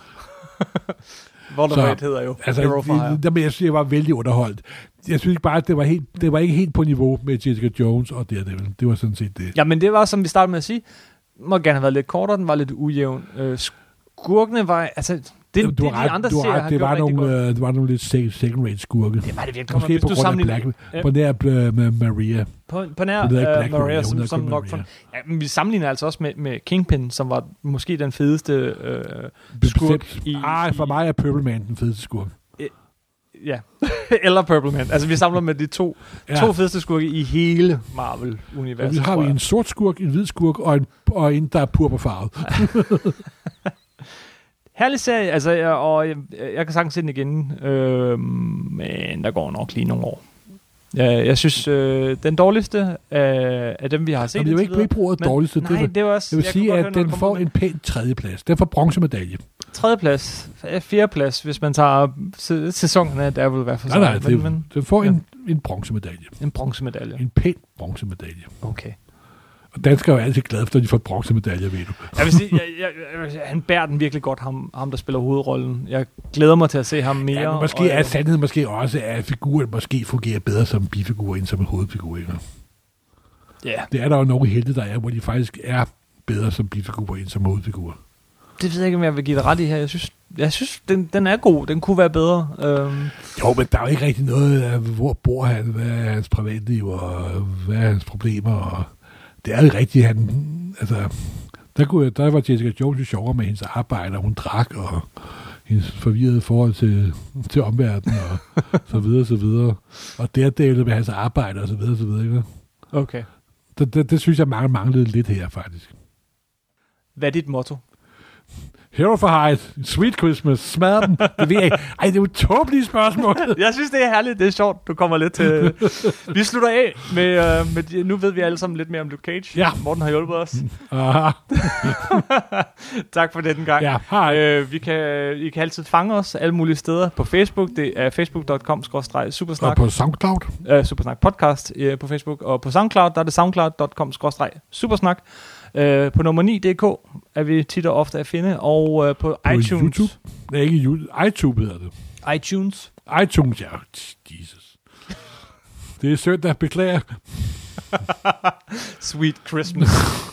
A: Voldemort hedder jo
B: Altså,
A: hero for hire.
B: det, jamen, jeg synes, jeg var vældig underholdt. Jeg synes bare, at det var, helt, det var ikke helt på niveau med Jessica Jones og Daredevil. Det var sådan set det.
A: Ja, men det var, som vi startede med at sige, må gerne have været lidt kortere, den var lidt ujævn. Øh, skurkene var, altså, det, det, det
B: du
A: de
B: har ret,
A: andre
B: du har
A: serier
B: ret,
A: har
B: det,
A: gjort
B: var
A: rigtig
B: nogle,
A: godt.
B: øh, det var nogle lidt se- second-rate skurke.
A: Det var det virkelig.
B: Måske
A: Hvis
B: på
A: du
B: grund af
A: sammenligner-
B: Black,
A: Ja.
B: på nær øh, med Maria.
A: På, på nær
B: Hun hedder ikke
A: uh,
B: Black Maria,
A: Maria,
B: hun
A: som,
B: hedder
A: som
B: kun
A: nok...
B: Maria.
A: Maria. Ja, men vi sammenligner altså også med, med Kingpin, som var måske den fedeste... Øh, Skurk
B: Bestemt.
A: i-
B: Ah, for
A: i-
B: mig er Purple Man den fedeste skurk.
A: ja, eller Purple Man. Altså, vi samler med de to, ja. to fedeste skurke i hele
B: Og
A: Marvel-universet,
B: vi har
A: tror
B: vi
A: jeg.
B: en sort skurk, en hvid skurk og en, og en der er purpurfarvet.
A: Herlig serie, altså, jeg, og jeg, jeg kan sagtens se den igen, øh, men der går nok lige nogle år. Ja, jeg synes, øh, den dårligste af, af dem, vi har set
B: Jamen, jeg vil
A: indtil
B: ikke bruge brugt
A: Men-
B: dårligste. Det
A: Nej,
B: var,
A: det var også...
B: jeg vil
A: kan
B: sige,
A: godt
B: at
A: høre, når
B: den
A: du
B: får
A: kommer med
B: en pæn tredjeplads. Den får bronzemedalje.
A: det. Tredjeplads, f- fjerdeplads, hvis man tager se- sæsonerne, der vil være for
B: Nej, nej,
A: men,
B: det,
A: men
B: den får
A: ja.
B: en, en bronzemedalje.
A: en bronzemedalje.
B: En pæn bronzemedalje.
A: Okay.
B: Og danskere er jo altid glade, for, når de får bronzemedaljer, ved du.
A: Jeg vil sige, jeg, jeg, jeg, jeg, han bærer den virkelig godt, ham, ham, der spiller hovedrollen. Jeg glæder mig til at se ham mere.
B: Ja, men
A: og-
B: måske er sandheden måske også, at figuren måske fungerer bedre som bifigur end som en hovedfigur. Ikke?
A: Ja,
B: Det er der jo nogle helte, der er, hvor de faktisk er bedre som bifigurer end som hovedfigurer.
A: det ved jeg ikke, om jeg vil give det ret i her. Jeg synes, jeg synes den, den er god. Den kunne være bedre. Øhm,
B: Jo, men der er jo ikke rigtig noget, af, hvor bor han, hvad er hans privatliv, og hvad er hans problemer, og det er jo rigtigt, han, altså, der, kunne, der var Jessica Jones jo sjovere med hendes arbejde, og hun drak, og hendes forvirrede forhold til, til omverdenen, og så videre, så videre. Og der delte med hans arbejde, og så videre, så videre. Ikke?
A: okay.
B: Det, det, det, synes jeg mange manglede lidt her, faktisk.
A: Hvad er dit motto?
B: Hero for Height, Sweet Christmas, smad dem. Det ved jeg ikke. Ej, det er jo tåbelige spørgsmål.
A: Jeg synes, det er herligt. Det er sjovt. Du kommer lidt til... Vi slutter af med... Øh, med de- nu ved vi alle sammen lidt mere om Luke Cage.
B: Ja.
A: Morten har hjulpet os.
B: Aha,
A: tak for den gang.
B: ja, hej.
A: Øh, vi kan, I kan altid fange os alle mulige steder på Facebook. Det er facebook.com-supersnak.
B: Og på SoundCloud.
A: øh, Supersnak Podcast øh, på Facebook, og på SoundCloud, der er det soundcloud.com-supersnak. Øh, på nummer 9.dk er vi tit og ofte at finde, og øh, på,
B: På
A: iTunes.
B: YouTube? Nej, ikke YouTube. iTunes hedder det.
A: iTunes.
B: iTunes, ja. Jesus. Det er søndag, beklager.
A: Sweet Christmas.